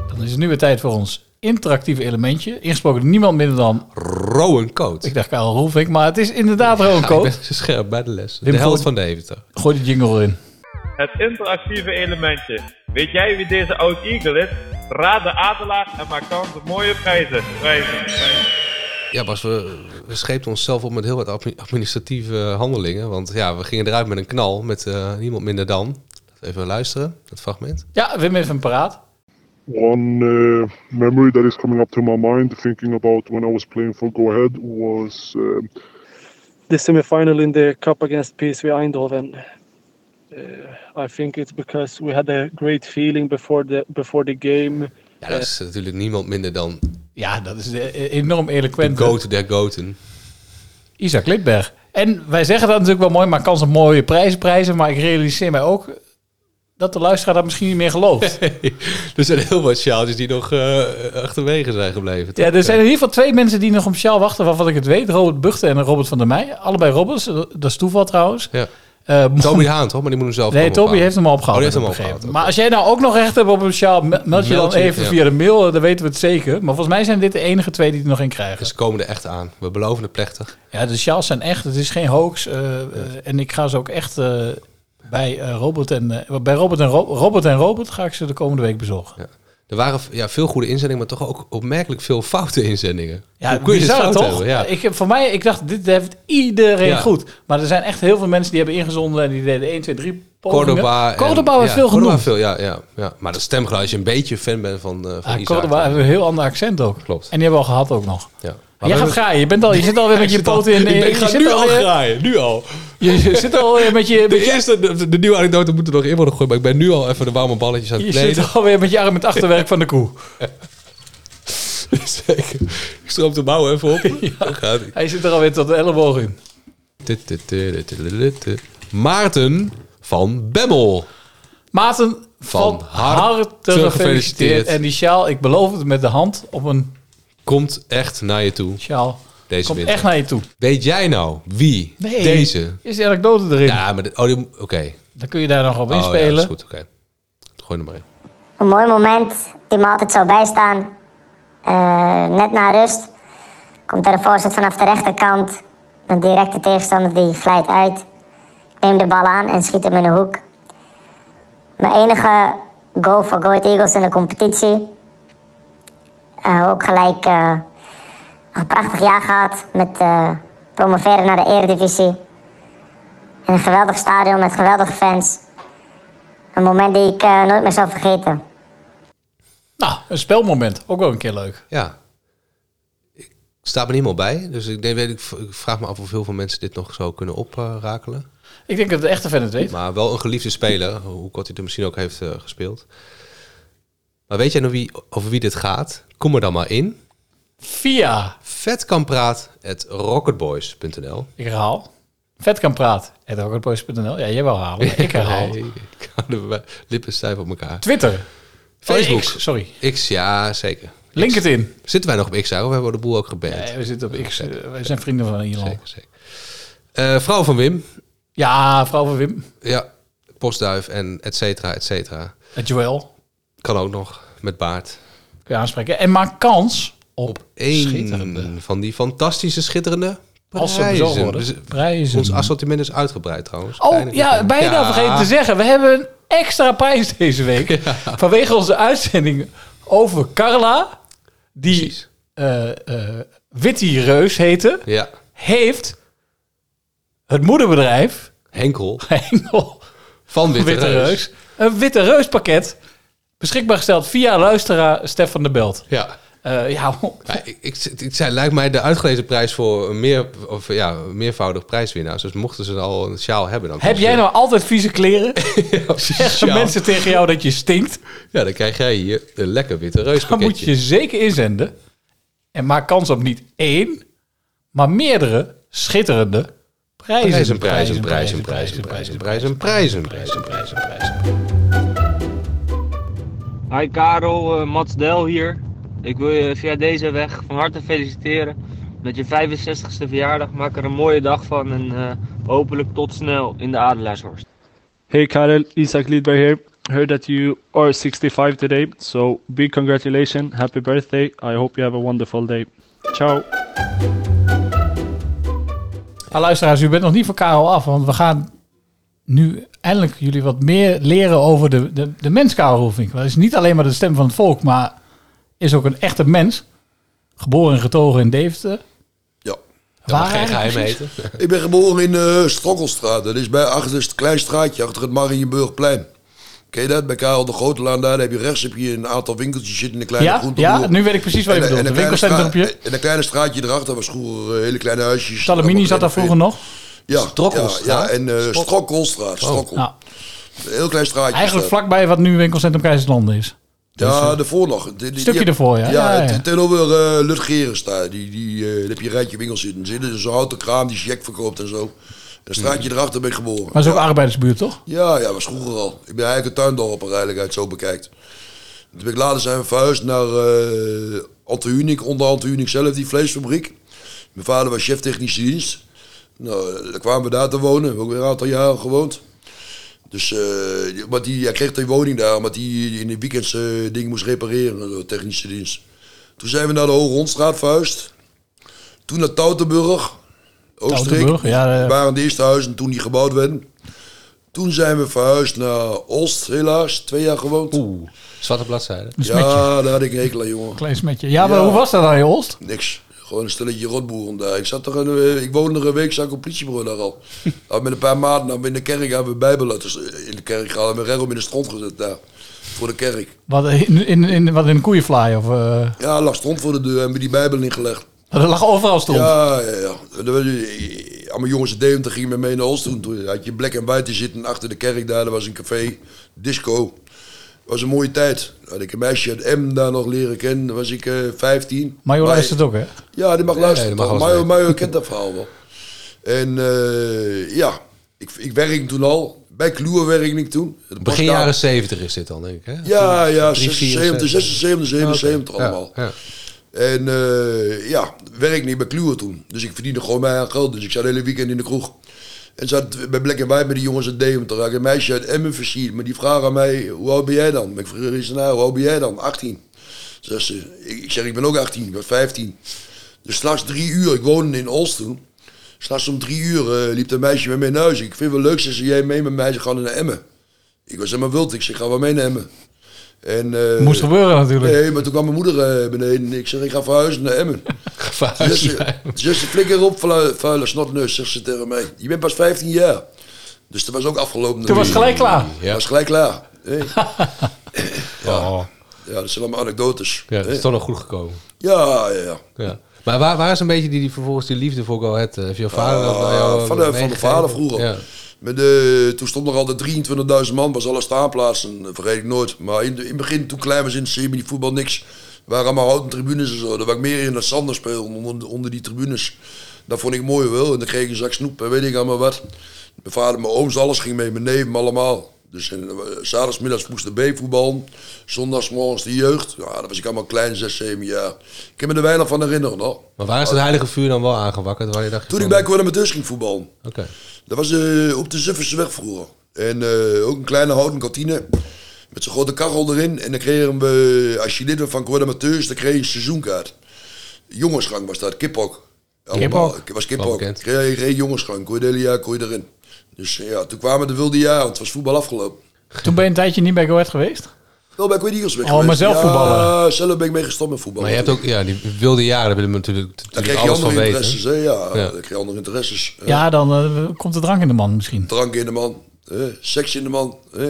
I: Dan is het nu weer tijd voor ons interactieve elementje. Ingesproken door niemand minder dan...
C: Rowan Coat.
I: Ik dacht Karel Roelvink, maar het is inderdaad Rowan
C: Ja, ik
I: Coat.
C: ben zo scherp bij de les.
I: Wim
C: de helft
I: Voort-
C: van Deventer.
I: Gooi de jingle in.
M: Het interactieve elementje. Weet jij wie deze oud Eagle is? Raad de adelaar en maak kans op mooie prijzen. Prijzen. prijzen.
C: Ja, Bas, we, we scheepten onszelf op met heel wat admi- administratieve eh, handelingen. Want ja, we gingen eruit met een knal met eh, niemand minder dan. Even luisteren, dat fragment.
I: Ja, Wim heeft hem paraat.
N: One uh, memory that is coming up to my mind, thinking about when I was playing for Go Ahead, was um,
O: the semi-final in the cup against PSV Eindhoven. Uh, I think it's because we had a great feeling before the before the game.
C: Ja, dat is Eh, natuurlijk niemand minder dan
I: Ja, dat is de- eh, enorm
C: de
I: eloquent.
C: goat der goten.
I: Isaac Lidberg. En wij zeggen dat natuurlijk wel mooi, maar kans op mooie prijzen prijzen. Maar ik realiseer mij ook dat de luisteraar dat misschien niet meer gelooft.
C: *laughs* er zijn heel wat sjaaltjes die nog eh, achterwege zijn gebleven.
I: Ja,
C: toch?
I: er zijn in ieder geval twee mensen die nog om Sjaal wachten, waarvan ik het weet. Robert Buchten en Robert van der Meij. Allebei Robbers, dat is toeval trouwens.
C: Ja.
I: Eh, Eh,
C: Toby de Haan, toch? Maar die moet hem zelf
I: Nee,
C: komen
I: Toby
C: ophalen.
I: heeft hem al opgehaald.
C: Oh, die heeft
I: heb
C: hem
I: ik
C: opgehaald,
I: begrepen. Maar als jij nou ook nog recht hebt op een sjaal, me- meld je
C: Meld
I: dan
C: je,
I: even
C: ja.
I: via de mail. eh, Dan weten we het zeker. Maar volgens mij zijn dit de enige twee die er nog in krijgen.
C: Dus ze komen er echt aan. We beloven het plechtig.
I: Ja, de sjaals zijn echt, het is geen hoax. eh, eh, en ik ga ze ook echt eh, bij, eh, Robert en, eh, bij Robert, en Ro- Robert en Robert ga ik ze de komende week bezorgen.
C: Er waren ja, veel goede inzendingen, maar toch ook opmerkelijk veel foute inzendingen.
I: Ja,
C: Hoe kun je dit
I: bizar
C: fout
I: toch?
C: hebben? Ja.
I: Ik, heb- voor mij, ik dacht, dit heeft iedereen
C: Ja.
I: goed. Maar er zijn echt heel veel mensen die hebben ingezonden en die deden 1, 2, 3 pogingen.
C: Cordoba. en-
I: Cordoba werd
C: ja,
I: veel
C: Cordoba
I: genoemd.
C: Veel, ja, ja, ja. Maar dat stemgeluid, als je een beetje fan bent van, eh van
I: Ah,
C: Isaac,
I: Cordoba heeft een heel ander accent ook.
C: Klopt.
I: En die hebben we al gehad ook nog.
C: Ja.
I: Maar Jij gaat graaien. Je, bent
C: *laughs*
I: al, je zit alweer met je
C: poot
I: poten in... eh,
C: Ik, ben,
I: je
C: ik ga
I: zit
C: nu al
I: alweer-
C: graaien, nu al.
I: Je, je zit alweer met je...
C: *laughs*
I: met
C: De
I: je-
C: eerste, de, de nieuwe anekdote moet er nog in worden gegooid, maar ik ben nu al even de warme balletjes aan het
I: Je
C: kleden.
I: zit alweer met je arm in het achterwerk van de koe.
C: *laughs* Zeker. Ik stroop de mouwen even op.
I: *laughs*
C: Daar gaat
I: Hij zit er alweer tot de elleboog in.
C: hij. Maarten van Bemmel.
I: Maarten, van,
C: Van
I: harte,
C: harte
I: gefeliciteerd.
C: gefeliciteerd.
I: En die sjaal, ik beloof het met de hand op een
C: Komt echt naar je toe.
I: sjaal.
C: Deze
I: Komt
C: winter.
I: echt naar je toe.
C: Weet jij nou wie
I: Nee.
C: deze...
I: Is de anekdote erin?
C: Ja, maar... dit- oh, die- oké.
I: Dan kun je daar nog op
C: Oh, ja, dat
I: inspelen.
C: is goed, oké. Gooi hem maar in.
P: Een mooi moment die me altijd zou bijstaan. Eh, net na rust komt daar een voorzet vanaf de rechterkant. Een directe tegenstander die glijdt uit. Ik neem de bal aan en schiet hem in de hoek. Mijn enige goal voor Go Ahead Eagles in de competitie. Eh, ook gelijk eh, een prachtig jaar gehad met eh, promoveren naar de Eredivisie. In een geweldig stadion met geweldige fans. Een moment die ik eh, nooit meer zal vergeten.
I: Nou, een spelmoment. Ook wel een keer leuk.
C: Ja. Ik sta er niet helemaal bij. Dus ik, denk, weet, ik v- ik vraag me af of heel veel mensen dit nog zo kunnen oprakelen.
I: Ik denk dat de echte fan het weet.
C: Maar wel een geliefde speler, hoe kort hij er misschien ook heeft eh, gespeeld. Maar weet jij nou wie, over wie dit gaat? Kom er dan maar in.
I: Via
C: vetkampraat.rocketboys.nl
I: Ik herhaal. Vet kan praten. rocketboys.nl. Ja, jij wil halen. maar Ik
C: *laughs*
I: herhaal.
C: Nee, ik hou de wa- lippen stijf op elkaar.
I: Twitter.
C: Facebook.
I: Oh, X, sorry.
C: X, ja, zeker.
I: LinkedIn.
C: Zitten wij nog op X, hoor? We hebben de boel ook geband.
I: Nee, we zitten op X. eh, Wij zijn vrienden van Ierland.
C: Eh, vrouw van Wim.
I: Ja, vrouw van Wim.
C: Ja, postduif en et cetera, et cetera.
I: Het Joël.
C: Kan ook nog, met baard.
I: Kun je aanspreken. En maak kans op,
C: Eén van die fantastische, schitterende
I: Als ze bezorgd worden.
C: Dus
I: Prijzen.
C: Ons assortiment is uitgebreid trouwens.
I: Oh
C: Kleine
I: ja,
C: kleine-
I: bijna
C: Ja.
I: vergeten te zeggen. We hebben een extra prijs deze week. Vanwege onze uitzending over Carla. Die eh eh, Witty Reus heette.
C: Ja.
I: Heeft het moederbedrijf... *laughs*
C: Henkel.
I: Henkel.
C: Van Witte Reus.
I: Een Witte Reus pakket. Beschikbaar gesteld via luisteraar Stefan de Belt.
C: Ja.
I: Eh, ja, *laughs*
C: Ja, ik, ik, ik zei, lijkt mij de uitgelezen prijs voor een meer, of, ja, een meervoudig prijswinnaars. Dus mochten ze al een sjaal hebben, dan
I: Heb jij nou altijd vieze
C: *laughs*
I: kleren? Zeggen
C: Ja.
I: mensen tegen jou dat je stinkt?
C: Ja, dan krijg jij hier een lekker witte
I: Dan moet
C: reuspakketje.
I: je zeker inzenden. En maak kans op niet één, maar meerdere schitterende
C: Prijzen,
I: prijzen.
C: prijzen, prijzen, prijzen, prijzen, prijzen, prijzen, prijzen, prijzen, prijzen.
Q: Hi Karel, eh, Mats Del hier. Ik wil je via deze weg van harte feliciteren met je 65ste verjaardag. Maak er een mooie dag van en eh, hopelijk tot snel in de Adelaarshorst.
O: Hey Karel, Isaac Lidberg here. Heard that you are 65 today, so big congratulations. Happy birthday. I hope you have a wonderful day. Ciao.
I: Ah, luisteraars, u bent nog niet van Karel af, want we gaan nu eindelijk jullie wat meer leren over de, de, de mens Karel Roelvink. Dat is niet alleen maar de stem van het volk, maar is ook een echte mens. Geboren en getogen in Deventer.
J: Ja.
I: Waar geen eigenlijk geheimheden.
J: Ik ben geboren in eh Strokkelstraat. Dat is bij achter is het klein straatje achter het Marienburgplein. Ken je dat? Bij Karel de Grote Laan daar heb je rechts heb je een aantal winkeltjes zitten in een kleine
I: Ja,
J: groenteboer.
I: ja, nu weet ik precies wat je
J: En een-
I: bedoelt.
J: en een
I: Een
J: kleine
I: winkelcentrumpje.
J: stra- En een kleine straatje erachter was vroeger eh, hele kleine huisjes.
I: Talamini zat daar vroeger nog.
J: Ja,
I: Strokkelstraat?
J: Ja, ja, en eh
I: Strok-
J: Strokkelstraat. Strokkel.
I: Nou,
J: Een heel klein straatje.
I: eigenlijk
J: is dat.
I: vlakbij wat nu winkelcentrum Keizerslanden is.
J: Ja, daarvoor nog. Die- die-
I: Stukje
J: die-
I: ervoor, ja. Ja, ja.
J: ten- Tegenover eh Lutgerens daar. Die, die, eh, daar heb je een rijtje winkels zitten. Er zit dus een houten kraam die jack verkoopt en zo. Een straatje erachter ben ik geboren.
I: Maar dat is ook arbeidersbuurt, toch?
J: Ja, ja, was vroeger al. Ik ben eigenlijk een tuindorper eigenlijk, als je het zo bekijkt. Toen ben ik later zijn we verhuisd naar eh Antehunik, onder Antehunik zelf, die vleesfabriek. Mijn vader was chef technische dienst. Nou, dan kwamen we daar te wonen. Ook weer een aantal jaren gewoond. Dus, eh, die- maar die, hij kreeg die woning daar, omdat hij in de weekends eh, dingen moest repareren eh, door de technische dienst. Toen zijn we naar de Hoge Hondstraat verhuisd. Toen naar Tautenburg, Oostenrijk.
I: Tautenburg, ja, eh, ja.
J: Dat waren de eerste huizen toen die gebouwd werden. Toen zijn we verhuisd naar Oost, helaas. Twee jaar gewoond. Oeh,
C: zwarte bladzijde.
I: Een
J: Ja, daar had ik een hekel aan, jongen.
I: Klein smetje. Ja, maar hoe was dat dan, joh, Oost?
J: Niks. Gewoon een stelletje rotboeren daar. Ik, zat er een, eh, ik woonde er een week, zat ik op politiebureau daar al. Had met een paar maanden hadden we in de kerk hebben we bijbel laten s- in de kerk gehaald. Hebben we rechtop in de stront gezet daar. Voor de kerk.
I: Wat in, in, in, wat in een koeienfly? Of, eh,
J: Ja, er lag stront voor de deur. Hebben we die bijbel ingelegd.
I: er lag overal stront.
J: Ja, ja, ja. En dan werd je- Allemaal jongens in Deventer gingen met mee naar Oost toen. Toen had je black en white te zitten achter de kerk daar. Er was een café, disco. was een mooie tijd. Had ik een meisje uit M daar nog leren kennen. Dan was ik eh 15.
I: Majola
J: Maar-
I: is het ook, hè?
J: Ja, die mag
I: Ja,
J: luisteren.
I: die mag
J: toch?
I: alles
J: Mario, Mario kent dat verhaal wel. En eh, ja, ik, ik werk toen al. Bij Kloer werkte ik toen. Het
C: Begin
J: Boskamp.
C: jaren 70 is dit dan, denk ik. Hè?
J: Ja, ja,
C: 3,
J: 76, 76, 77
C: Ja,
J: allemaal. En eh, ja, werk niet bij Kluwer toen. Dus ik verdiende gewoon mijn eigen geld. Dus ik zat het hele weekend in de kroeg. En zat bij Black and White met die jongens uit Deventer. Had ik een meisje uit Emmen versierd. Maar die vragen aan mij, hoe oud ben jij dan? Ik vroeg eens naar, hoe oud ben jij dan? 18. Zegt ze, ik, ik zeg, ik ben ook 18, ik was 15. Dus s'nachts drie uur, ik woonde in Oost toen. S'nachts om drie uur eh, liep dat meisje met mij naar huis. Ik vind het wel leuk, ze zei, jij mee met mij, ze gaan naar Emmen. Ik was helemaal wild, ik zeg, ga wel mee naar Emmen. En, eh,
I: Moest gebeuren natuurlijk.
J: Nee, maar toen kwam mijn moeder eh, beneden en ik zeg, ik ga verhuizen naar Emmen. Ga
C: verhuizen
J: Zus, flikker op, vuile, vuile snotneus, zegt ze tegen mij. Je bent pas 15 jaar. Dus dat was ook afgelopen.
I: Toen was het gelijk klaar.
J: Ja. was gelijk klaar. hè. ja. ja, dat zijn allemaal anekdotes.
C: Ja, dat is
J: hè.
C: toch nog goed gekomen.
J: Ja, ja, ja.
C: Ja. Maar waar, waar is een beetje die, die vervolgens die liefde voor Go Ahead? eh, Heeft jouw vader dat bij
J: Ah,
C: jou eh,
J: van, de- van mijn
C: meegegeven?
J: vader vroeger.
C: Ja.
J: Met de, toen stonden er altijd 23.000 man, was alle staanplaatsen, dat vergeet ik nooit. Maar in, de- in het begin, toen klein was in het semi, voetbal niks. waren allemaal houten tribunes en zo. Daar was ik meer in dan Sander spelen, onder, onder die tribunes. Dat vond ik mooi wel. En dan kreeg ik een zak snoep en weet ik allemaal wat. Mijn vader, mijn ooms, alles ging mee, mijn neven, allemaal. Dus en, eh, zaterdagmiddags moest de B voetballen. Zondagsmorgens de jeugd. Ja, dat was ik allemaal klein, 6, 7 jaar. Ik heb me er weinig van herinneren. hoor.
C: Maar waar is het heilige vuur dan wel aangewakkerd? Waar je dacht,
J: Toen ik bij Coronamateus ging voetballen.
C: Oké.
J: Dat was eh, op de Zufferse weg vroeger. En eh, ook een kleine houten kantine. Met zo'n grote kachel erin. En dan kregen we, als je lid werd van Corps Amateurs, dan kreeg je een seizoenkaart. Jongensgang was dat, kiphok. Allemaal.
C: Kiphok?
J: Het was
C: Wel
J: kiphok.
C: bekend.
J: Kreeg je geen jongensgang, kon je het hele jaar kon je erin. Dus eh, ja, toen kwamen de wilde jaren, want het was voetbal afgelopen.
I: Toen ben je een tijdje niet bij Go Ahead geweest?
J: Wel bij Quid Eagles weg
I: Oh, maar
J: geweest.
I: zelf
J: ja,
I: voetballen.
J: zelf ben ik mee gestopt met voetbal.
C: Maar je hebt ook ja, die wilde jaren, willen we natuurlijk,
J: dan
C: natuurlijk
J: kreeg je
C: alles van
J: andere
C: weten.
J: interesses, hè? Dus, eh, Ja,
C: Ja.
J: dan kreeg je andere interesses.
I: Ja, dan eh, komt de drank in de man misschien.
J: Drank in de man, eh, seks in de man. eh.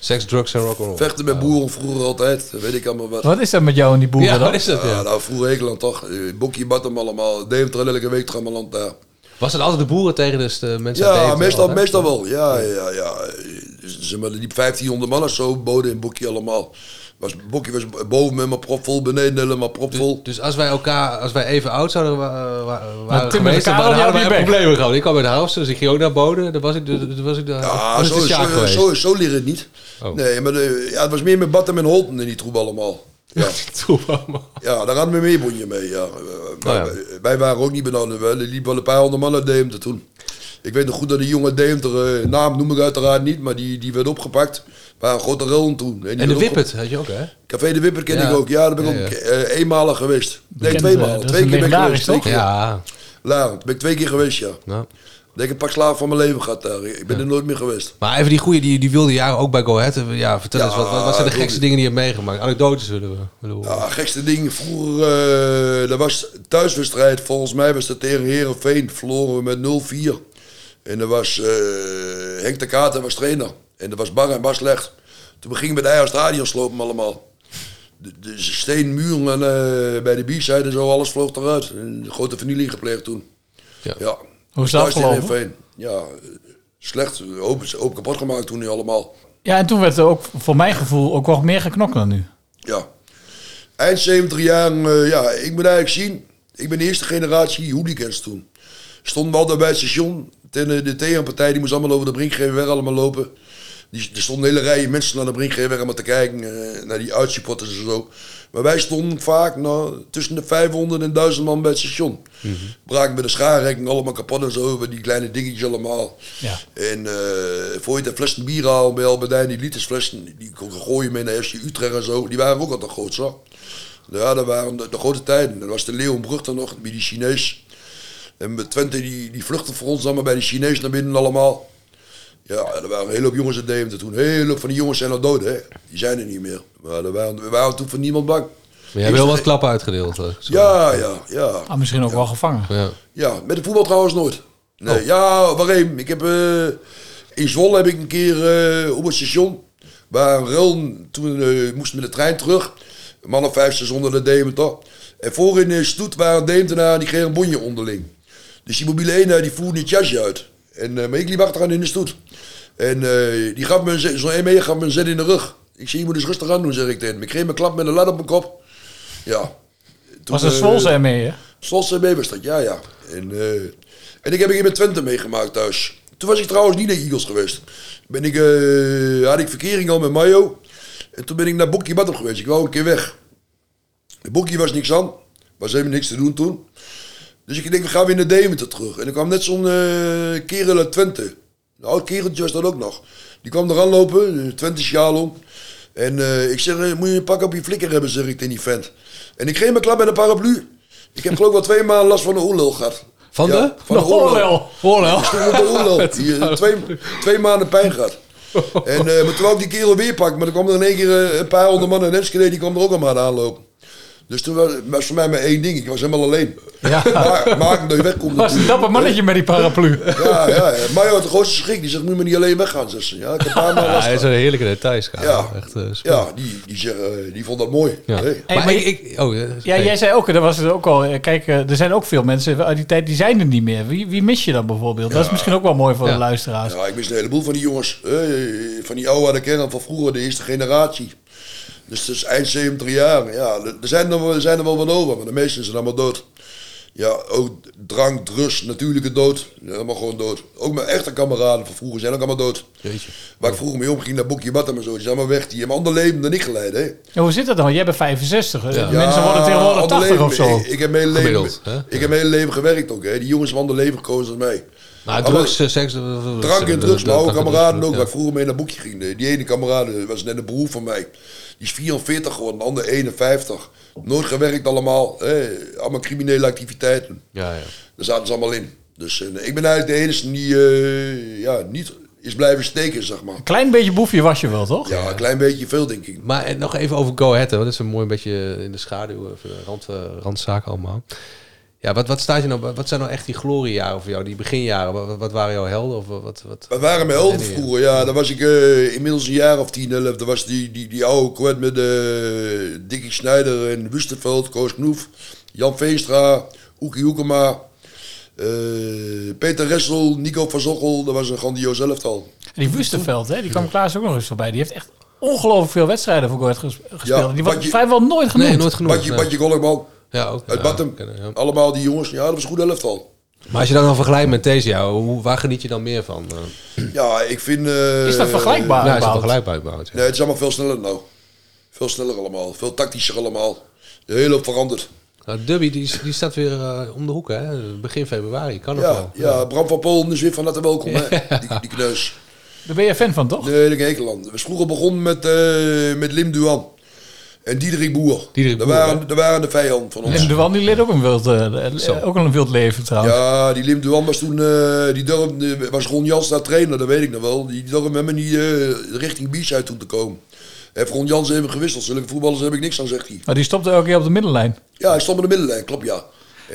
C: Seks, drugs en rock'n'roll.
J: Vechten met boeren vroeger altijd, dat weet ik allemaal wat.
I: Wat is dat met jou en die boeren
C: *laughs*
I: dan?
J: Ja, nou, vroeger Ekeland toch. Eh, Bokkie bad hem allemaal. Deventer elke week Trammeland daar.
C: Was het altijd de boeren tegen dus de mensen uit
J: Ja,
C: Deventer
J: meestal,
C: dan, hè?
J: meestal wel. Ja, ja, ja. ja. Eh, Zeg maar, er liepen 1500 man of zo boden in Bokkie allemaal. Was, Bokkie was boven helemaal propvol, beneden helemaal propvol.
C: Dus als wij elkaar, als wij even oud zouden wa- wa- waren
J: Tim met
C: geweest, dan
J: elkaar
C: hadden
J: had
C: wij
J: jij
C: echt
J: die bek.
C: problemen gehad. Ik kwam uit de house, dus ik ging ook naar Boden. Daar was ik, daar daar was ik de,
J: ja,
C: was ik
J: zo,
C: de Sjaak
J: zo, zo,
C: geweest.
J: Oh, zo, zo leer het niet.
C: *laughs*
J: Nee, maar de, ja, het was meer met Batten en Holten in die troep allemaal. Ja. Ja, daar hadden we meer bonje mee. Ja. Eh, maar wij- Wij waren ook niet benaderd. We liepen wel een paar honderd man uit Deventer toen. Ik weet nog goed dat die jonge Deventer, eh, naam noem ik uiteraard niet, maar die, die werd opgepakt. Waar een grote rel toen. die
C: En de
J: werd opge-
C: Wippet had je ook, hè?
J: Café de Wipper ken
C: Ja.
J: ik ook. Ja, daar ben ik
C: Ja,
J: ook
C: ja.
J: eh, eenmalig geweest. Nee,
C: Bekend, eh,
J: tweemaal.
C: dat is
J: Twee
C: een
J: keer ben ik
C: legendarisch,
J: geweest. Twee
C: toch?
J: keer.
C: Ja.
J: Larend, ben ik twee keer geweest, ja.
C: Ja.
J: Dat ik een pak slaaf van mijn leven gehad daar. Ik ben er nooit meer geweest.
C: Maar even die goede, die, die wilde jaren ook bij Go Ahead. Eh, Ja, vertel
J: Ja,
C: eens, wat, wat, wat zijn de
J: dat Ah,
C: gekste dingen die je hebt meegemaakt? Anekdotes willen we. willen we
J: Ja, gekste ding. Vroeger, eh dat was thuiswedstrijd. Volgens mij was dat tegen Herenveen. Verloren we met 0-4. En dat was eh, Henk de Kater was trainer. En dat was Bar en Bas slecht. Toen gingen we de Eier Stadion slopen allemaal. De, de steenmuren eh, bij de B-side en zo, alles vloog eruit. Een grote familie gepleegd toen.
C: Ja.
I: Hoe is dat
J: Thuis tegen
I: afgelopen?
J: Heerenveen. Ja, eh, slecht. Hoop, hoop kapot gemaakt toen nu allemaal.
I: Ja, en toen werd er ook voor mijn gevoel ook wel meer geknokt dan nu.
J: Ja. Eind 70 jaar, eh, ja, ik moet eigenlijk zien. Ik ben de eerste generatie hooligans toen. Stonden we altijd bij het station. Ten, eh, de tegenpartij, die moest allemaal over de brink, gingen we weg allemaal lopen. Die, er stonden hele rijen mensen naar de Brinkgever om te kijken eh, naar die uitsupporters en zo. Maar wij stonden vaak nou, tussen de 500 en 1000 man bij het station. Braken bij de schaarrekking allemaal kapot en zo, met die kleine dingetjes allemaal.
I: Ja.
J: En eh voor je de flessen bier al bij Albert Heijn, die litersflessen, die kon je gooien mee naar FC Utrecht en zo, die waren ook altijd groot, zo. Ja, dat waren de, de grote tijden. Dat was de Leeuwenbrug dan nog, met die Chinees. En met Twente, die, die vluchtten voor ons allemaal bij die Chinees naar binnen allemaal. Ja, er waren een hele hoop jongens in Deventer toen. Een hele hoop van die jongens zijn al dood, hè. Die zijn er niet meer. Maar er waren, we waren toen voor niemand bang.
C: Maar jij hebt wel wat klappen uitgedeeld. hè? Zo.
J: Ja, ja, ja.
I: Ah, misschien ook wel gevangen.
C: Ja.
J: Ja, met de voetbal trouwens nooit. Nee,
I: Oh.
J: Ja, waarin? Ik heb, eh, in Zwolle heb ik een keer eh, op het station. Waar Ruln, toen eh, moest met de trein terug. Een man of vijf, zes onder de Deventer. En voorin in eh, Stoet waren Deventenaar en die kregen een bonje onderling. Dus die mobiele eenheid die voerde het jasje uit. En, eh, maar ik liep achteraan in de stoet. En eh, die gaf me een zet, zo'n 1 meter gaf me een zet in de rug. Ik zie, je moet eens rustig aan doen, zeg ik tegen hem. Ik kreeg mijn klap met een lat op mijn kop. Ja. Toen,
I: Was het
J: eh,
I: Zwolse ermee, hè?
J: Slotse mee was dat, ja, ja. En, eh, en ik heb een keer met Twente meegemaakt thuis. Toen was ik trouwens niet naar Eagles geweest. Ben ik, eh, had ik verkering al met Mayo. En toen ben ik naar Bokkie Battle geweest. Ik wou een keer weg. De Bokkie was niks aan. Was helemaal niks te doen toen. Dus ik denk, we gaan weer naar Deventer terug. En er kwam net zo'n eh, kerel uit Twente. Een oud kereltje was dat ook nog. Die kwam eraan lopen, een Twente sjaal om. En eh, ik zeg, eh, moet je een pak op je flikker hebben, zeg ik tegen die vent. En ik geef mijn klap met een paraplu. Ik heb geloof ik wel twee maanden last van de oorlel gehad.
C: Van de?
J: Van de
C: De oorlel. Oorlel.
J: Ik stond op de oorlel. Die, eh, twee, twee maanden pijn gehad. En eh maar toen wou ik die kerel weer pakken. Maar er kwam er in één keer eh, een paar honderd man in Enschede. Die kwam er ook allemaal aanlopen. Dus toen was, was voor mij maar één ding. Ik was helemaal alleen. Ja. Maar, maar dat je wegkomt
I: Was een dapper mannetje met die paraplu.
J: ja, ja, ja. Maar joh, de grootste schrik. Oh, Die zegt, moet je maar niet alleen weggaan. Zegt ze. Ja, ik heb daar maar
C: Ja,
J: last
C: hij is
J: van.
C: een heerlijke details.
J: Ja.
C: Ja. Echt, eh, super.
J: Ja, die, die, zeggen, eh, die vond dat mooi.
C: Ja.
J: Hey.
I: Hey, maar
C: ik- oh, ja,
I: Ja,
C: nee.
I: jij zei ook, dat was het ook al. eh, Kijk, eh, er zijn ook veel mensen uit die tijd, die zijn er niet meer. Wie, wie mis je dan bijvoorbeeld? Dat is misschien ook wel mooi voor de luisteraars.
J: Ja, "Ah, ik mis een heleboel van die jongens. hè, van die oude kern van vroeger, de eerste generatie. Dus dat is eind 70 jaar. Ja, er er zijn er, wel- er zijn er wel wat over, maar de meesten zijn allemaal dood. Ja, ook drank, drugs, natuurlijke dood. Helemaal gewoon dood. Ook mijn echte kameraden van vroeger zijn ook allemaal dood. Waar ik vroeger mee omging, naar Boekje Batam en zo. Die zijn allemaal weg. Die hebben een ander leven dan ik geleid, hè.
I: Ja, hoe zit dat dan? Jij bent 65. eh,
J: Ja.
I: Mensen worden tegenwoordig
J: ander
I: 80 of
J: leven.
I: zo.
J: Ik, ik heb mijn hele leven,
C: Gemiddeld, hè?
J: ik heb mijn hele leven gewerkt ook. Hè. Die jongens hebben ander leven gekozen dan mij.
C: Nou,
J: Allemaal-
C: drugs, eh, seks... eh, eh,
J: Drank en drugs, maar
C: eh,
J: ook
C: drank en
J: kameraden
C: drugs,
J: ook.
C: ja.
J: Waar ik vroeger mee naar boekje ging. Die ene kameraden was net een broer van mij. Die is 44 geworden, de ander 51. Nooit gewerkt allemaal. Hè. Allemaal criminele activiteiten.
C: Ja, ja.
J: Daar zaten ze allemaal in. Dus eh, ik ben eigenlijk de enige die eh, ja, niet is blijven steken, zeg maar.
I: Klein beetje boefje was je wel, toch?
J: Ja, een klein beetje veel, denk ik.
C: Maar eh, nog even over Go Ahead. Hè. want Dat is een mooi beetje in de schaduw eh, van de rand, eh, randzaken allemaal. Ja, wat, wat, staat je nou, wat zijn nou echt die gloriejaren voor jou? Die beginjaren? Wat, wat waren jouw helden? Of wat, wat, wat
J: We waren met
C: wat
J: elf
C: herinner je?
J: vroeger, ja. Dan was ik eh, inmiddels een jaar of tien, elf. Dan was die, die, die oude kwet met eh Dickie Snijder en Wusterveld, Koos Knoef, Jan Veenstra, Oekie Hoekema, eh, Peter Ressel, Nico van Zockel. Dat was een grandioos elftal.
I: En die Wusterveld, hè, die kwam Klaas ook nog eens voorbij. Die heeft echt ongelooflijk veel wedstrijden voor Go Ahead ges- gespeeld. die wordt
J: Badje-
I: vrijwel nooit genoemd.
J: Badje, Badje Golkman.
C: Ja, ook.
J: Uit
C: Ja,
J: Battum. Allemaal die jongens. Ja, dat was een goed elftal.
C: Maar als je dan al vergelijkt met deze jou, hoe, waar geniet je dan meer van? eh?
J: Ja, ik vind... eh,
I: Is dat vergelijkbaar,
C: Ja, is dat
I: überhaupt?
C: vergelijkbaar überhaupt, ja.
J: Nee, het is allemaal veel sneller nou. Veel sneller allemaal. Veel tactischer allemaal. Een hele hoop veranderd.
C: Nou, Dubby, die, die staat weer eh, om de hoek, hè? Begin februari, kan nog
J: Ja,
C: wel.
J: ja, Bram van Polen is weer van harte welkom, hè? Die, die kneus.
I: Daar ben je fan van, toch?
J: Nee, dat hekel aan. We vroeger begonnen met, eh, met Lim Duan. En Diederik Boer.
I: Diederik
J: dat
I: Boer,
J: waren, dat waren de vijand van ons.
I: En de Wan die leed ook een wild, eh, eh, ook al een wild leven trouwens.
J: Ja, die Lim Duan was toen, eh, die dorp, eh, was Ron Jans daar trainer, dat weet ik nog wel. Die dorp hebben niet eh, richting Bies uit toen te komen. Heeft Ron Jans even gewisseld. Zulke voetballers heb ik niks aan, zegt hij.
I: Maar die stopte elke keer op de middenlijn.
J: Ja, hij stond met de middenlijn, klopt ja.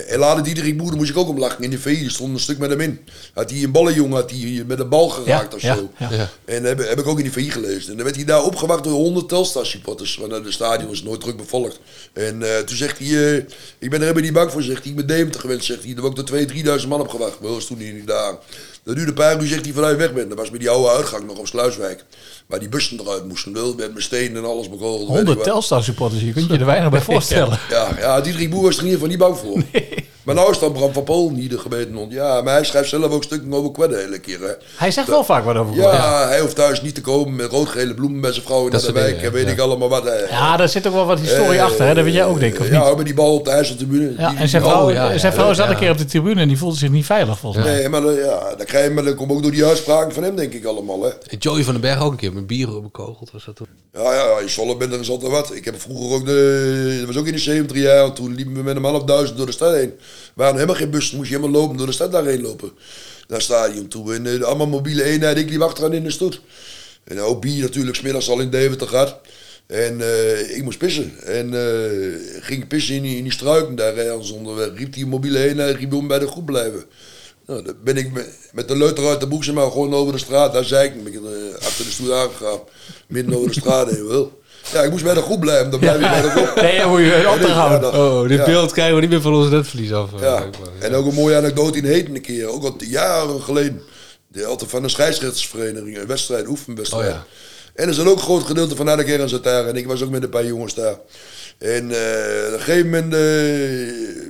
J: En later Diederik Boer, daar moest ik ook om lachen. In de VI die stond een stuk met hem in. Had hij een ballenjongen had hij met een bal geraakt of zo.
I: Eh,
J: En heb, heb ik ook in die VI gelezen. En dan werd hij daar opgewacht door 100 Telstar supporters. Want eh, de stadion is nooit druk bevolkt. En eh, toen zegt hij, eh, ik ben er helemaal niet bang voor, zegt hij. Ik ben Deventer gewend, zegt hij. Er waren ook door 2.000, 3.000 man op gewacht. Maar dat was toen hij niet daar. Dat duurde een paar uur, zegt hij, vanuit weg bent. Dat was met die oude uitgang nog op Sluiswijk. Waar die bussen eruit moesten. Wel Met mijn stenen en alles bekogeld. weet ik
I: 100
J: wat. *laughs*
I: Telstar supporters, je kunt je er weinig bij voorstellen.
J: Ja, ja Diederik Boer was er in ieder geval niet bang voor. Maar nou is dan Bram van Poel niet de gebeten hond. Ja, maar hij schrijft zelf ook stukken over Kwedde de hele keer. Hè.
I: Hij zegt wel vaak wat over
J: Ja,
I: Kwedde, ja.
J: hij hoeft thuis niet te komen met roodgele bloemen met zijn vrouw in
I: Dat
J: de
I: soort
J: wijk.
I: dingen,
J: En weet
I: ja.
J: ik allemaal wat. hè.
I: Ja, daar zit ook wel wat historie
J: Eh,
I: achter, hè? dat weet jij ook denk ik, of niet?
J: Ja, met die bal op de IJsseltribune.
I: Ja,
J: Die-
I: en zijn
J: die-
I: vrouw,
J: oh, ja, ja,
I: zijn vrouw
J: ja,
I: zat
J: ja.
I: een keer op de tribune en die voelde zich niet veilig volgens mij.
J: Nee, maar eh, ja, dan krijg je, maar dat komt ook door die uitspraken van hem, denk ik allemaal. Hè.
C: Joey van den Berg ook een keer met bier bekogeld was dat toen.
J: Ah Ja, ja, in Zollebinder is altijd wat. Ik heb vroeger ook, de, dat was ook in de 70 jaar, toen liepen we met een half duizend door de stad heen. Er waren helemaal geen bussen, moest je helemaal lopen door de stad daarheen lopen. Naar het stadion toe. En eh, allemaal mobiele eenheid, ik liep achteraan in de stoet. En ook bier natuurlijk, smiddags al in Deventer gehad. En eh, ik moest pissen. En eh, ging pissen in die, in die struiken daar ergens onderweg. eh, Riep die mobiele eenheid, riep om bij de groep blijven. Nou, dan ben ik met- met de leuter uit de boek, zeg maar, gewoon over de straat. Daar zei ik, ben ik eh, achter de stoel aangegaan. Midden over de straat heen, wel. Ja, ik moest bij de groep blijven, dan blijf je bij de groep.
I: Nee, dan moet je
J: En
I: weer
J: ik- ja,
I: opgehouden.
J: dan-
C: Oh, dit
J: ja.
C: beeld krijgen we niet meer van ons netvlies af. eh,
J: Ja. En ook een mooie anekdote in Heten een keer, ook al jaren geleden. De altijd van een scheidsrechtsvereniging, een wedstrijd, een oefenwedstrijd.
C: Oh ja.
J: En er zat ook een groot gedeelte van de Kerens zat daar. En ik was ook met een paar jongens daar. En eh, op een gegeven moment eh,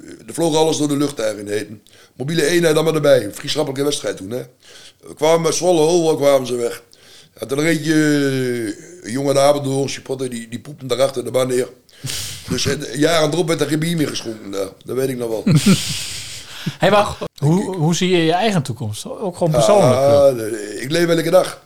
J: er vloog alles door de lucht daar in Heten. Mobiele eenheid allemaal erbij. Een vriendschappelijke wedstrijd toen. Hè. We kwamen met Zwolle, overal kwamen ze weg. En toen reed je eh, een jongen de Apeldoorn, supporter, die, die poepte daar achter de baan neer. Dus eh, jaren erop werd er geen bier meer geschonken daar. Dat weet ik nog wel.
I: Hey, maar hoe, hoe zie je je eigen toekomst? Ook gewoon
J: Ja,
I: persoonlijk.
J: ja, Ah, nee, ik leef elke dag.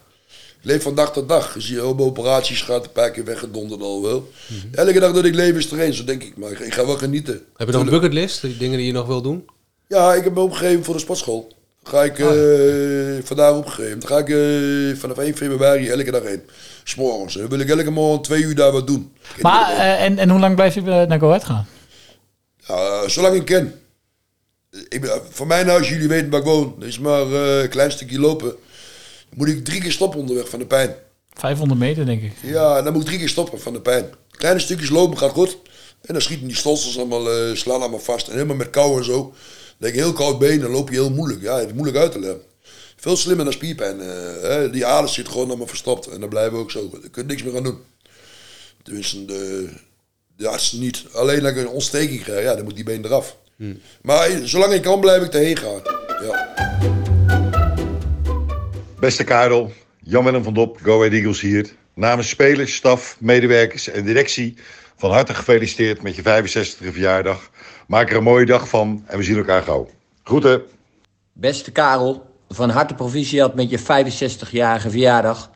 J: Ik leef van dag tot dag. Je ziet heel veel operaties gaat een paar keer weggedonderd al wel. Elke dag dat ik leef is er één, zo denk ik. Maar ik, ik ga wel genieten.
C: Heb je nog een bucketlist? Die dingen die je nog wil doen?
J: Ja, ik heb me opgegeven voor de sportschool. Ga ik eh, vandaag opgegeven. Dan ga ik eh, vanaf 1 februari elke dag heen. S'morgens. Dan wil ik elke morgen twee uur daar wat doen.
I: Maar, eh, en, en hoe lang blijf je eh, naar Go Ahead gaan?
J: Ja, Eh, zolang ik ken. Ik ben, van mijn huis, jullie weten waar ik woon. Dat is maar eh, een klein stukje lopen. Dan moet ik drie keer stoppen onderweg van de pijn.
I: 500 meter, denk ik.
J: Ja, en dan moet ik drie keer stoppen van de pijn. Kleine stukjes lopen gaat goed. En dan schieten die stolsels allemaal, eh, slaan allemaal vast. En helemaal met kou en zo. Dan heb je heel koud been, dan loop je heel moeilijk. Ja, het is moeilijk uit te leggen. Veel slimmer dan spierpijn. eh, hè. Die aders zitten gewoon allemaal verstopt. En dan blijven we ook zo. Daar kun je niks meer aan doen. Tenminste, de, de artsen niet. Alleen als ik een ontsteking krijg, ja, dan moet die been eraf. Maar eh, zolang ik kan, blijf ik erheen gaan. Ja.
R: Beste Karel, Jan-Willem van Dop, Go Ahead Eagles hier. Namens spelers, staf, medewerkers en directie van harte gefeliciteerd met je 65e verjaardag. Maak er een mooie dag van en we zien elkaar gauw. Groeten.
S: Beste Karel, van harte proficiat met je 65-jarige verjaardag.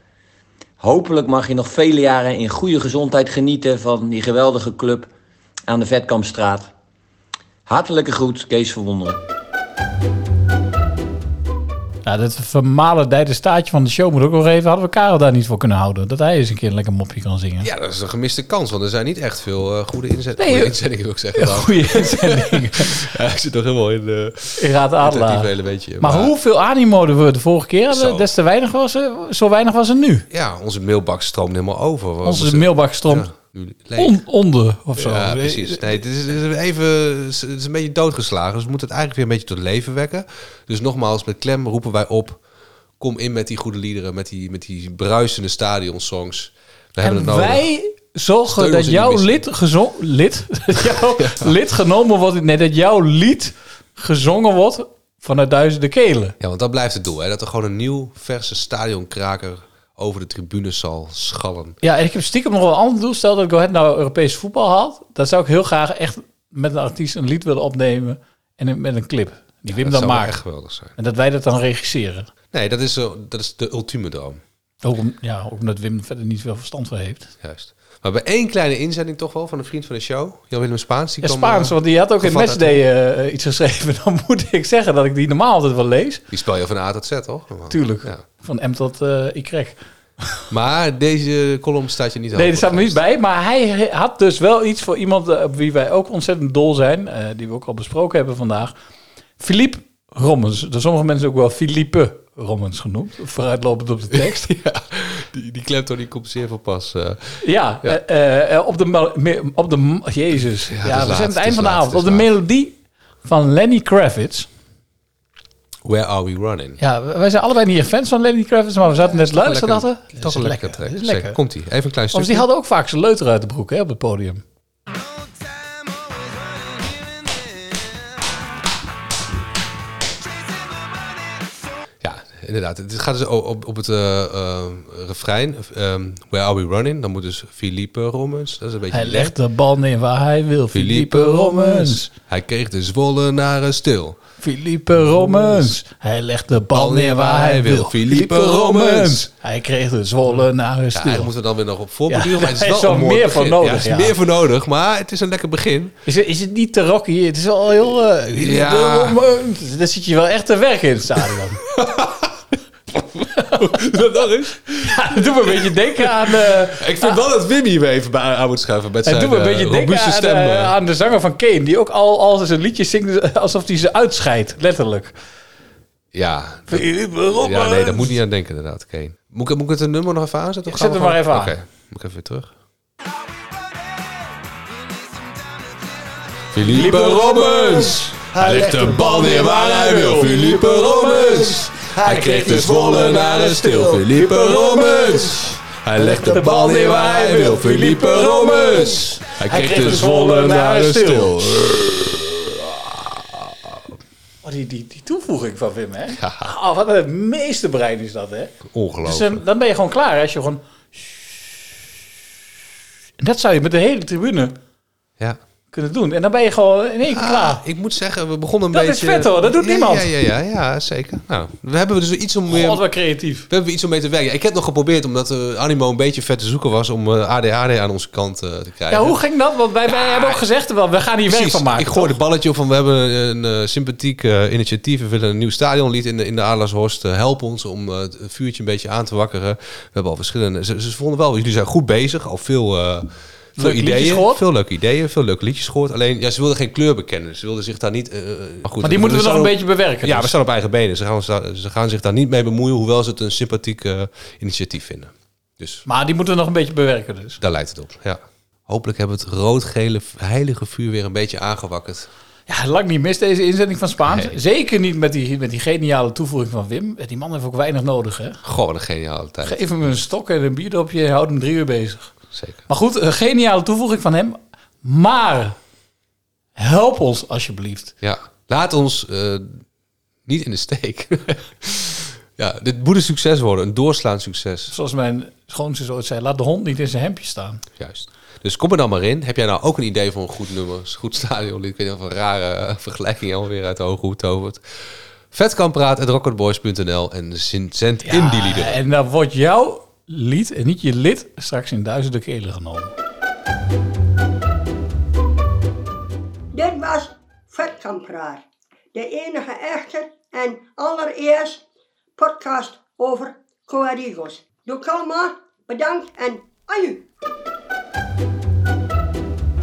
S: Hopelijk mag je nog vele jaren in goede gezondheid genieten van die geweldige club aan de Vetkampstraat. Hartelijke groet, Kees van Wonderen.
I: Nou, dat vermalendijde staartje van de show moet ook nog even. Hadden we Karel daar niet voor kunnen houden? Dat hij eens een keer een lekker mopje kan zingen.
C: Ja, dat is een gemiste kans, want er zijn niet echt veel eh, goede inzet-
I: Nee,
C: goede
I: joh.
C: inzendingen. wil ik
I: Ja,
C: zeggen. Dan. *laughs*
I: goede inzendingen.
C: ja, ik zit nog helemaal in eh, de...
I: Ik raad Adelaar.
C: hele beetje.
I: Maar, hoeveel animo er we de vorige keer
C: Zo.
I: hadden, des te weinig was er, zo weinig was er nu.
C: Ja, onze mailbak stroomt helemaal over. We
I: Onze
C: moeten-
I: mailbak stroomt
C: nu leeg.
I: on- onder of zo.
C: Ja, precies. Nee, het is, het is even, het is een beetje doodgeslagen. Dus we moeten het eigenlijk weer een beetje tot leven wekken. Dus nogmaals, met klem roepen wij op. Kom in met die goede liederen, met die, met die bruisende stadionsongs. We hebben
I: En
C: het nodig.
I: wij zorgen
C: Steun ons
I: dat
C: in die
I: jouw
C: missie.
I: lid, gezo- lid, *laughs* dat jouw lid genomen wordt. Nee, dat jouw lied gezongen wordt vanuit duizenden kelen.
C: Ja, want dat blijft het doel. Hè? Dat er gewoon een nieuw, verse stadionkraker over de tribunes zal schallen.
I: Ja, en ik heb stiekem nog wel een ander doel. Stel dat Go Ahead nou Europees voetbal haalt. Dan zou ik heel graag echt met een artiest een lied willen opnemen. En een- met een clip. Die Wim
C: dat
I: dan
C: zou wel
I: maakt.
C: echt geweldig zijn.
I: En dat wij dat dan regisseren.
C: Nee, dat is, eh, dat is de ultieme droom.
I: Ook, om- ja, ook omdat Wim verder niet veel verstand van heeft.
C: Juist. Maar bij één kleine inzending toch wel van een vriend van de show, Jan-Willem Spaans. Die
I: Ja,
C: kwam,
I: Spaans,
C: eh,
I: want die had ook in
C: gevat uit-
I: Matchday eh, iets geschreven. *laughs* Dan moet ik zeggen dat ik die normaal altijd wel lees.
C: Die spel je van A tot Z, toch? Normaal.
I: Tuurlijk.
C: Ja.
I: Van M tot eh Y.
C: Maar deze column staat je niet
I: Nee, daar staat me niet bij. Maar hij had dus wel iets voor iemand eh, op wie wij ook ontzettend dol zijn. eh, die we ook al besproken hebben vandaag. Philippe Rommens. Door sommige mensen ook wel Philippe Rommens genoemd. Vooruitlopend op de tekst.
C: *laughs* ja, die, die klemtoon die komt zeer van pas. eh.
I: Ja,
C: Ja.
I: eh, eh, op, de, ma- me- op de... ma- Jezus. Ja,
C: het is
I: we
C: laat,
I: zijn aan
C: het
I: het
C: is
I: eind van de
C: laat,
I: avond.
C: het
I: Op
C: is
I: de melodie van Lenny Kravitz.
C: Where are we running?
I: Ja, wij zijn allebei niet echt fans van Lenny Kravitz, maar we zaten net luisteren.
C: Lekker-
I: dachten,
C: Toch een lekkere track.
I: Dit is
C: Zeker.
I: lekker.
C: Komt-ie. Even een klein
I: Want
C: stukje.
I: die hadden ook vaak zijn leuter uit de broek hè, op het podium.
C: inderdaad. Het gaat dus o- op, op het eh, eh, refrein. ehm, Where are we running? Dan moet dus Philippe Rommens. Dat is een beetje
I: Hij
C: legt.
I: legt de bal neer waar hij wil. Philippe Rommens.
C: Hij kreeg de Zwollenaren stil.
I: Philippe Rommens. Hij legt de bal neer waar hij wil.
C: Philippe Rommens.
I: Hij kreeg de Zwolle naar een
C: Ja,
I: stil.
C: daar moeten we dan weer nog op voorbeduren.
I: Ja,
C: maar het is
I: er
C: wel
I: is wel
C: een mooi
I: meer voor
C: begin.
I: nodig,
C: Ja, er is
I: ja.
C: meer voor nodig, maar het is een lekker begin.
I: Is, het- is het niet te rocky? Het is al heel... eh,
C: Ja.
I: de Rommens. Daar zit je wel echt te werken in
C: *laughs*
I: het stadion.
C: dat dat is?
I: Ja, dat doet me een beetje denken aan... eh,
C: Ik vind wel dat Wim hier weer even bij aan moet schuiven. Met
I: het
C: zijn
I: doet me een
C: eh,
I: beetje denken
C: robuuste
I: aan,
C: stem.
I: eh,
C: eh.
I: aan de zanger van Kane. Die ook al, al zijn liedjes zingt dus, eh, alsof hij ze uitscheidt. Letterlijk.
C: ja.
I: Philippe Robbins.
C: Ja, nee, daar moet niet aan denken inderdaad, Kane. Moet ik, moet ik het een nummer nog even aanzetten?
I: Ja,
C: of gaan
I: zet
C: we
I: hem
C: gewoon-
I: maar even aan.
C: Oké, moet ik even weer terug. Philippe Robbins. Hij legt de bal neer waar hij wil. Philippe Robbins. Hij kreeg de Zwolle naar de stil. Philippe Robbins. Hij legt de bal neer waar hij wil. Philippe Robbins. Hij kreeg de Zwolle naar de stil.
I: Oh, die, die, die toevoeging van Wim, hè? Oh, wat een meeste brein is dat, hè? Dus
C: Ongelooflijk.
I: dan, dan ben je gewoon klaar hè, als je gewoon... En dat zou je met de hele tribune
C: Ja.
I: kunnen doen. En dan ben je gewoon in één
C: Ah,
I: keer klaar.
C: Ik moet zeggen, we begonnen
I: dat
C: een beetje...
I: is vet hoor, dat doet
C: Ja,
I: niemand.
C: Ja, ja, ja, ja, zeker. Nou, we hebben dus iets om...
I: God, wat creatief.
C: We hebben iets om mee te werken. Ik heb nog geprobeerd, omdat eh, Animo een beetje vet te zoeken was, om eh, ADHD aan onze kant eh, te krijgen.
I: Ja, hoe ging dat? Want wij, wij hebben ook gezegd, wel, we gaan hier werk
C: Precies.
I: van maken.
C: Ik gooi de balletje op van we hebben een eh, sympathiek eh, initiatief. We willen een nieuw stadionlied in de, in de Adelaarshorst. Eh, help ons om eh, het vuurtje een beetje aan te wakkeren. We hebben al verschillende... Ze, ze vonden wel, jullie zijn goed bezig. Al veel, eh, veel
I: Leuke liedjes
C: ideeën.
I: gehoord.
C: Veel leuke ideeën, veel leuke liedjes gehoord. Alleen, ja, ze wilden geen kleur bekennen. Ze wilden zich daar niet... eh, eh, goed,
I: Maar die moeten we
C: staan
I: nog een
C: op-
I: beetje bewerken,
C: Ja,
I: dus.
C: we staan op eigen benen. Ze gaan, ze gaan zich daar niet mee bemoeien, hoewel ze het een sympathiek eh, initiatief vinden. Dus
I: Maar die moeten we nog een beetje bewerken dus.
C: daar lijkt het op, ja. Hopelijk hebben we het rood-gele heilige vuur weer een beetje aangewakkerd.
I: Ja, lang niet mis deze inzending van Spaans. Zeker niet met die, met die geniale toevoeging van Wim. Die man heeft ook weinig nodig, hè?
C: Gewoon een geniale tijd.
I: Geef hem een stok en een bierdopje en houd hem drie uur bezig.
C: Zeker.
I: Maar goed, een geniale toevoeging van hem. Maar help ons alsjeblieft.
C: Ja. Laat ons eh, niet in de steek. *laughs* ja, dit moet een succes worden. Een doorslaand succes.
I: Zoals mijn schoonzus ooit zei, laat de hond niet in zijn hemdje staan.
C: Juist. Dus kom er dan maar in. Heb jij nou ook een idee voor een goed nummer? Een goed stadion? Ik weet niet of een rare eh, vergelijking alweer uit de hoge hoed tovert. Vetkampraat.rocketboys.nl en zin- zend in die liederen.
I: En dan wordt jouw lied, en niet je lid, straks in duizenden kelen genomen.
H: Dit was Vetkampraar, de enige echte en allereerst podcast over Coadigos. Doe kalma, bedankt en aju!